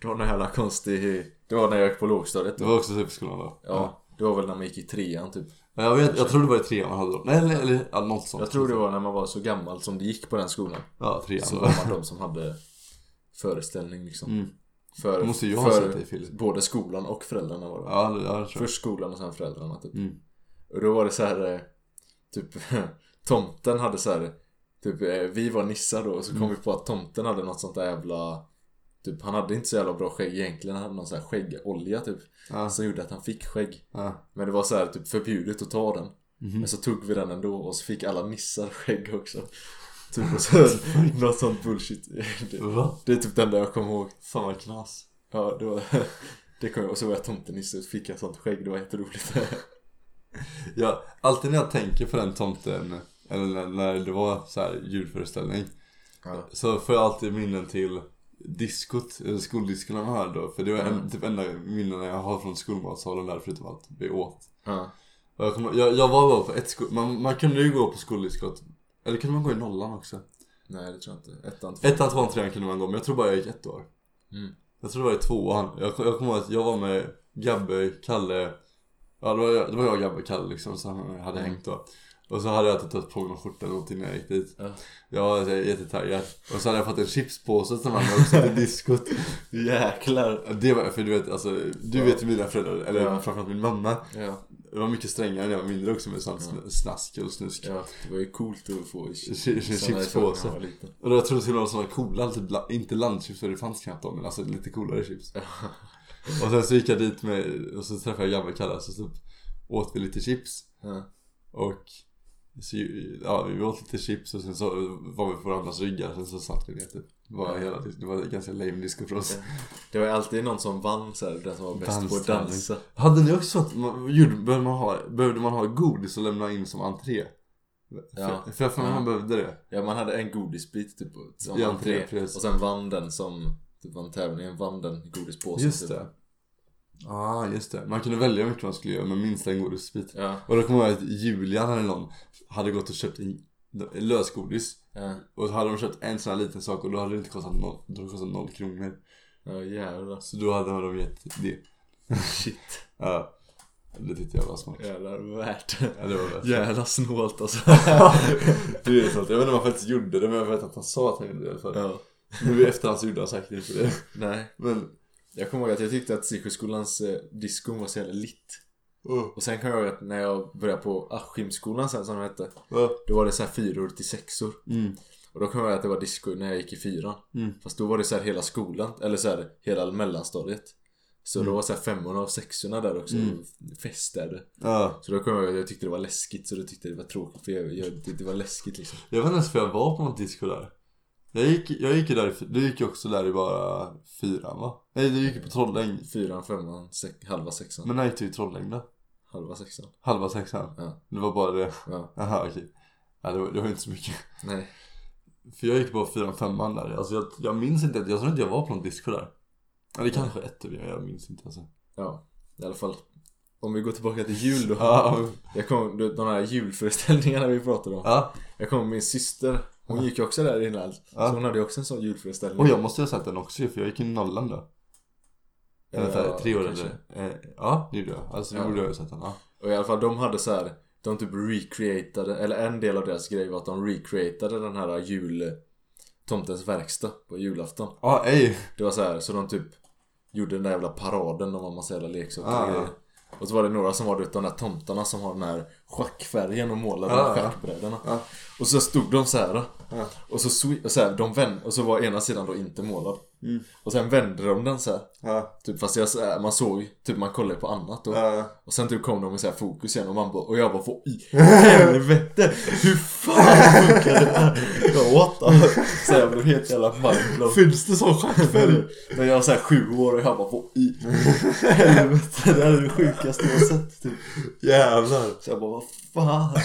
det var någon jävla konstig... Det var när jag gick på lågstadiet Det då. var också Sifoskolan då. Ja, det var väl när man gick i trean typ. Ja, Jag, vet, jag tror det var i trean man hade dem. Nej, eller, eller ja, något sånt. Jag tror det var när man var så gammal som det gick på den skolan. Ja, trean. Så var man de som hade föreställning liksom. Mm. För, Det måste ju ha för sett dig, Filip. både skolan och föräldrarna var det. Ja, det, ja, det tror jag. Först skolan och sen föräldrarna typ. Mm. Och då var det så här eh, typ [LAUGHS] tomten hade så här typ eh, vi var nissar då och så kom Mm. vi på att tomten hade något sånt där jävla typ han hade inte så jävla bra skägg egentligen. Han hade någon sån här skäggolja typ. Ja. Som gjorde att han fick skägg. Ja. Men det var så här typ förbjudet att ta den. Mhm. Men så tog vi den ändå och så fick alla nissar skägg [LAUGHS] också. Typ och så något sånt bullshit. Det, Va? det är typ det enda jag kommer ihåg. Fan vad knas. Ja, det var... [LAUGHS] Det kom jag och så var jag tomtenisse och så fick jag sånt skägg, det var jätteroligt. Ja, alltid när jag tänker på den tomten, eller när- när det var så här julföreställning, Ja. så får jag alltid minnen till diskot, eller skoldiskorna man hade då. För det var Mm. en, typ enda minnena jag har från skolmatsalen där, förutom allt vi åt. [LAUGHS] Ja. Och jag, kommer, jag, jag var bara på ett skol... Man, man kunde ju gå på skoldiskot. Eller kunde man gå i nollan också? Nej, det tror jag inte. Ettan, tvåan. Ettan, tvåan, trean kunde man gå, men jag tror bara jag gick ett år. Mm. Jag tror det var i tvåan. Jag, jag kommer ihåg att jag var med Gabbe, Kalle. Ja, det var, jag- det var jag, Gabbe, Kalle liksom som jag hade Mm. hängt då. Och så hade jag inte tagit på mig någon skjorta eller någonting när jag gick dit. alltså, Ja. Jag var så här jättetaggad. Och så hade jag fått en chipspåse som han också [LAUGHS] till diskot. Jäklar. Det var, för du vet, alltså, du Ja. vet ju mina föräldrar, eller Ja. framförallt min mamma. Ja, Det var mycket strängare när jag var mindre också med sånt sn- snask och snusk. ja, det var ju coolt att få i Chi- chi- chipspåse. Och då trodde jag till och med sådana coola, typ, la- inte landchips för det fanns knappt dem, men alltså lite coolare chips. [LAUGHS] och sen så gick jag dit med, och så träffade jag gamla Kalle, så typ åt vi lite chips. Ja. Och så, ja, vi åt lite chips och sen så var vi på varandras ryggar sen så satt vi ner typ. Det var, hela, det var en ganska lame disco för oss. Det var ju alltid någon som vann så här, den som var bäst på att Danstävling. dansa. Hade ni också att man, gjorde, behövde, man ha, behövde man ha godis och lämna in som entré? Ja. För, för jag för mig Ja. man behövde det. Ja, man hade en godisbit typ som Ja, entré. precis. Och sen vann den som typ vann tävlingen, vann den godispåsen. Just typ. det. ah, just det. Man kunde välja hur mycket man skulle göra men minst en godisbit. Ja, Och då kommer jag ihåg att Julian eller någon hade gått och köpt en lösgodis. ja, Och så hade de köpt en sån här liten sak och då hade det inte kostat noll, då hade det kostat noll kronor. ja jävlar. Så då hade de gett [LAUGHS] det. Shit. Ja, det tyckte jag var smart. [LAUGHS] Jävlar värt. Ja, det var värt. Jävla [LAUGHS] snålt alltså. Det är sant. Jag vet inte om han faktiskt gjorde det, men jag vet att han sa att han gjorde det i alla fall. ja. Nu i efterhand så gjorde han säkert inte det. Nej. Men, Jag kommer ihåg att jag tyckte att Sisjöskolans eh, diskon var så jävla litt. oh, Och sen kommer jag ihåg att när jag började på Askimskolan sen som den hette. oh. Då var det så här fyror till sexor. Mm. Och då kommer jag ihåg att det var disco när jag gick i fyran. Mm. Fast då var det så här hela skolan, eller så här hela mellanstadiet. Så då var så här femmorna och sexorna där också Mm. och festade. Ja. Så då kommer jag ihåg att jag tyckte det var läskigt så då tyckte jag det var tråkigt för jag, jag, det, det var läskigt liksom. Jag vet inte ens för jag var på något disco där. Jag gick, jag gick ju där, i fy- du gick ju också där i bara fyran va? Nej du gick ju på Trolläng. Fyran, femman, sex, halva sexan. Men när gick du i Trolläng då? Halva sexan. Halva sexan? Ja. Det var bara det? Ja, Jaha okej. Ja det var, det var inte så mycket. nej. För jag gick bara fyran, femman där. Alltså jag, jag minns inte, jag tror inte jag var på någon disco där. Eller kanske ett av jag minns inte alltså. Ja, i alla fall. Om vi går tillbaka till jul då. Ja, Jag kom, du vet, de här julföreställningarna vi pratade om. ja. Jag kommer min syster, hon gick ju också där innan. Ja. Så hon hade ju också en sån julföreställning. Och jag måste ju ha sett den också ju, för jag gick i nollan då. Eller ja, Ja, tre år kanske. eller? Eh, ja, det gjorde jag. Alltså det Ja. borde jag ha sett den. Ja. Och i alla fall de hade så här. De typ recreatade, eller en del av deras grej var att de recreatade den här jul Tomtens verkstad på julafton Ja, ej. Det var så här, så de typ Gjorde den där jävla paraden, de var en massa jävla leksaker och Ah. grejer Och så var det några som var du vet, de där tomtarna som har den här schackfärgen och målade Ah, ah, ja. schackbrädorna Ja. Och så stod de så här Ja. Och så, swi- och så, här, de vände, och så var ena sidan då inte målad Mm. Och sen vände de den så här. Ja. Typ fast jag, så här, man såg, typ man kollade på annat då Ja. och sen typ kom de med så här fokus igen och man bara, och jag bara får i helvete! Hur fan funkar det här? Jag åt Så jag blev helt jävla mindblown. Finns det sån schackfärg? När jag var såhär sju år och jag bara får i helvete. Det här är det sjukaste jag har sett typ. Jävlar. Så jag bara, vad fan?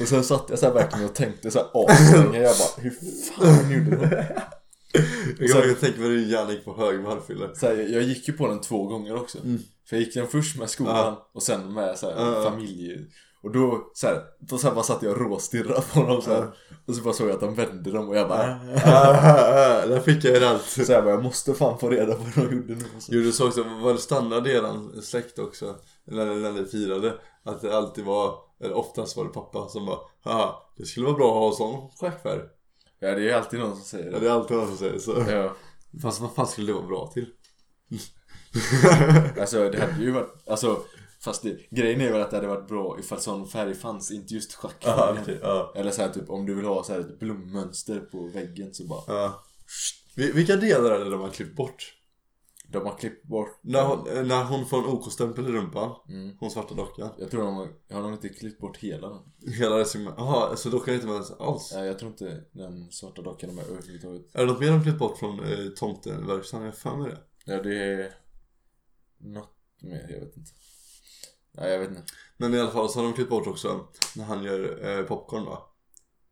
Och sen satt jag såhär verkligen och tänkte såhär aslänge. Jag bara, hur fan gjorde de? Jag kan verkligen tänka mig hur din hjärna gick på högvarvfylla. Så här, jag gick ju på den två gånger också. För jag gick den först med skolan Ja. och sen med så här, Ja, ja. familj. Och då, så här, då så här bara satt jag och råstirrade på dem så här. Och så bara såg jag att de vände dem och jag bara Ah, Där fick jag er allt. Så jag bara, jag måste fan få reda på vad de gjorde nu. alltså. Och så. Jo, du sa också, var det standard i eran släkt också? När, när ni firade? Att det alltid var, eller oftast var det pappa som bara Haha, det skulle vara bra att ha sån schackfärg. Ja, det är ju alltid någon som säger Ja, det. det är alltid någon som säger så. Ja, Fast vad fan skulle det vara bra till? alltså det hade ju varit, alltså fast det, grejen är väl att det hade varit bra ifall sån färg fanns, inte just schackfärgen. ja. Eller så här, typ om du vill ha så här ett blommönster på väggen så bara, ja. Vi- Vilka delar är det de har klippt bort? de har klippt bort. När hon, när hon får en OK-stämpel i rumpan, Mm. hon svarta dockan. Jag tror de har, har de inte klippt bort hela den? Hela det som, jaha, så dockan är inte med ens alls? Nej, jag tror inte den svarta dockan är med överhuvudtaget. Är det något mer de klippt bort från eh, tomtenverkstan? Jag har för mig det. Ja, det är något mer. Jag vet inte. Nej, jag vet inte. Men i alla fall så har de klippt bort också när han gör eh, popcorn va?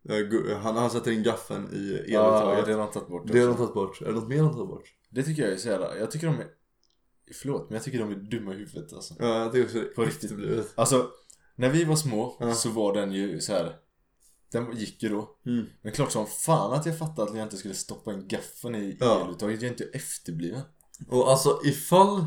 Eh, gu- Han, han sätter in gaffeln i Ja, det eluttaget. har de tagit bort. det har de också. tagit bort. Är det något mer de tagit bort? det tycker jag är så jävla... Jag tycker de är... Förlåt, men jag tycker de är dumma i huvudet alltså. Ja, jag tycker också det. På riktigt. blivit. Alltså, när vi var små Ja. så var den ju så här. Den gick ju då. Mm. Men klart som fan att jag fattade att jag inte skulle stoppa en gaffeln i Ja. eluttaget. Jag är inte efterbliven. Och alltså ifall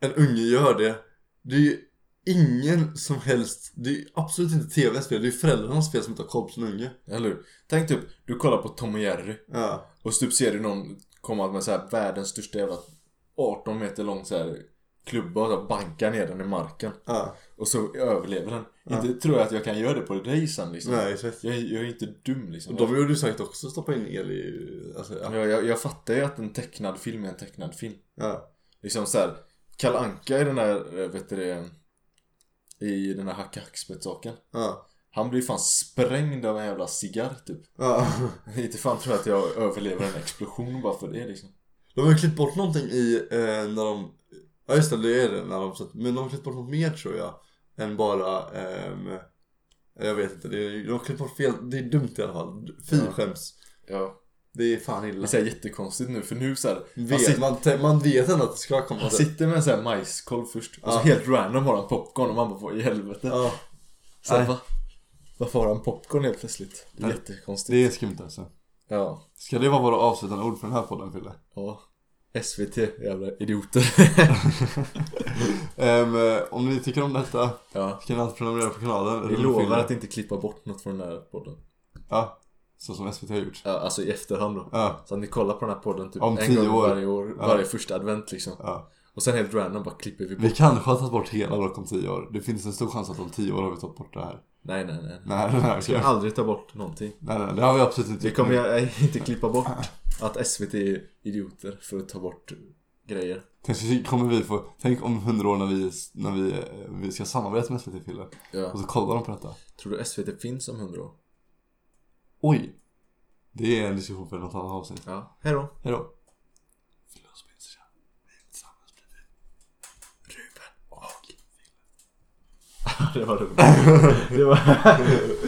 en unge gör det, det är ju ingen som helst, det är absolut inte tvns fel, det är föräldrarnas fel som inte har koll på sin unge. Eller hur? Tänk typ, du kollar på Tom och Jerry Ja. och så typ ser du någon komma med så här världens största jävla 18 meter lång så här klubba och så här bankar ner den i marken. ja. Och så överlever den. Inte tror jag att jag kan göra det på dig sen liksom. Nej, exakt. Jag, jag är inte dum liksom. De gjorde ju säkert också stoppa in el i, alltså, ja. Jag, jag, jag fattar ju att en tecknad film är en tecknad film. ja. Liksom så här, Kalle Anka i den här, eh, vet du det, i den här Hacka Hackspett-saken. Ja. Han blir fan sprängd av en jävla cigarr typ. [LAUGHS] ja. Inte fan tror jag att jag överlever en explosion bara för det liksom. De har ju klippt bort någonting i eh, när de... Ja just det, det är det när de satt, Men de har klippt bort något mer tror jag. Än bara... ehm, jag vet inte, det är, de har klippt bort fel. Det är dumt i alla fall. Fy Ja. skäms. Ja. Det är fan Det är illa. så här jättekonstigt nu för nu så här, han, Vet, sit, man, te- man vet ändå att det ska komma. han sitter med en sån här majskolv först. Och så Alltså- Ja. helt random har han popcorn och man bara vad i helvete. Ja, Så här, Nej. va? Varför har han popcorn helt plötsligt? Det är Nej. jättekonstigt. det är skumt alltså. Ja. Ska det vara våra avslutande ord för den här podden [LAUGHS] Fille? Ja. SVT, jävla idioter. [LAUGHS] Ehm, om ni tycker om detta ja. så kan ni alltid prenumerera på kanalen. Vi Rulla lovar Fille. att inte klippa bort något från den här podden. Ja, så som SVT har gjort. Ja, alltså i efterhand då. Ja, Så att ni kollar på den här podden typ Om en tio gång år. varje år, Ja. varje första advent liksom. ja. Och sen helt random bara klipper vi bort. Vi kanske har tagit bort hela dock om 10 år. Det finns en stor chans att om 10 år har vi tagit bort det här. Nej, nej, nej. Nej, nej, nej, Vi ska okej. aldrig ta bort någonting. nej, nej, det har vi absolut inte Vi kommer ju [LAUGHS] inte klippa bort att SVT är idioter för att ta bort grejer. Tänk, så kommer vi få, tänk om 100 år när vi, när vi, eh, vi ska samarbeta med SVT Fille och Ja. så kollar de på detta. Tror du SVT finns om hundra år? Oj! Det är en diskussion för något annat avsnitt. Ja. Hejdå. [LAUGHS] Hejdå! Det var roligt. Det var...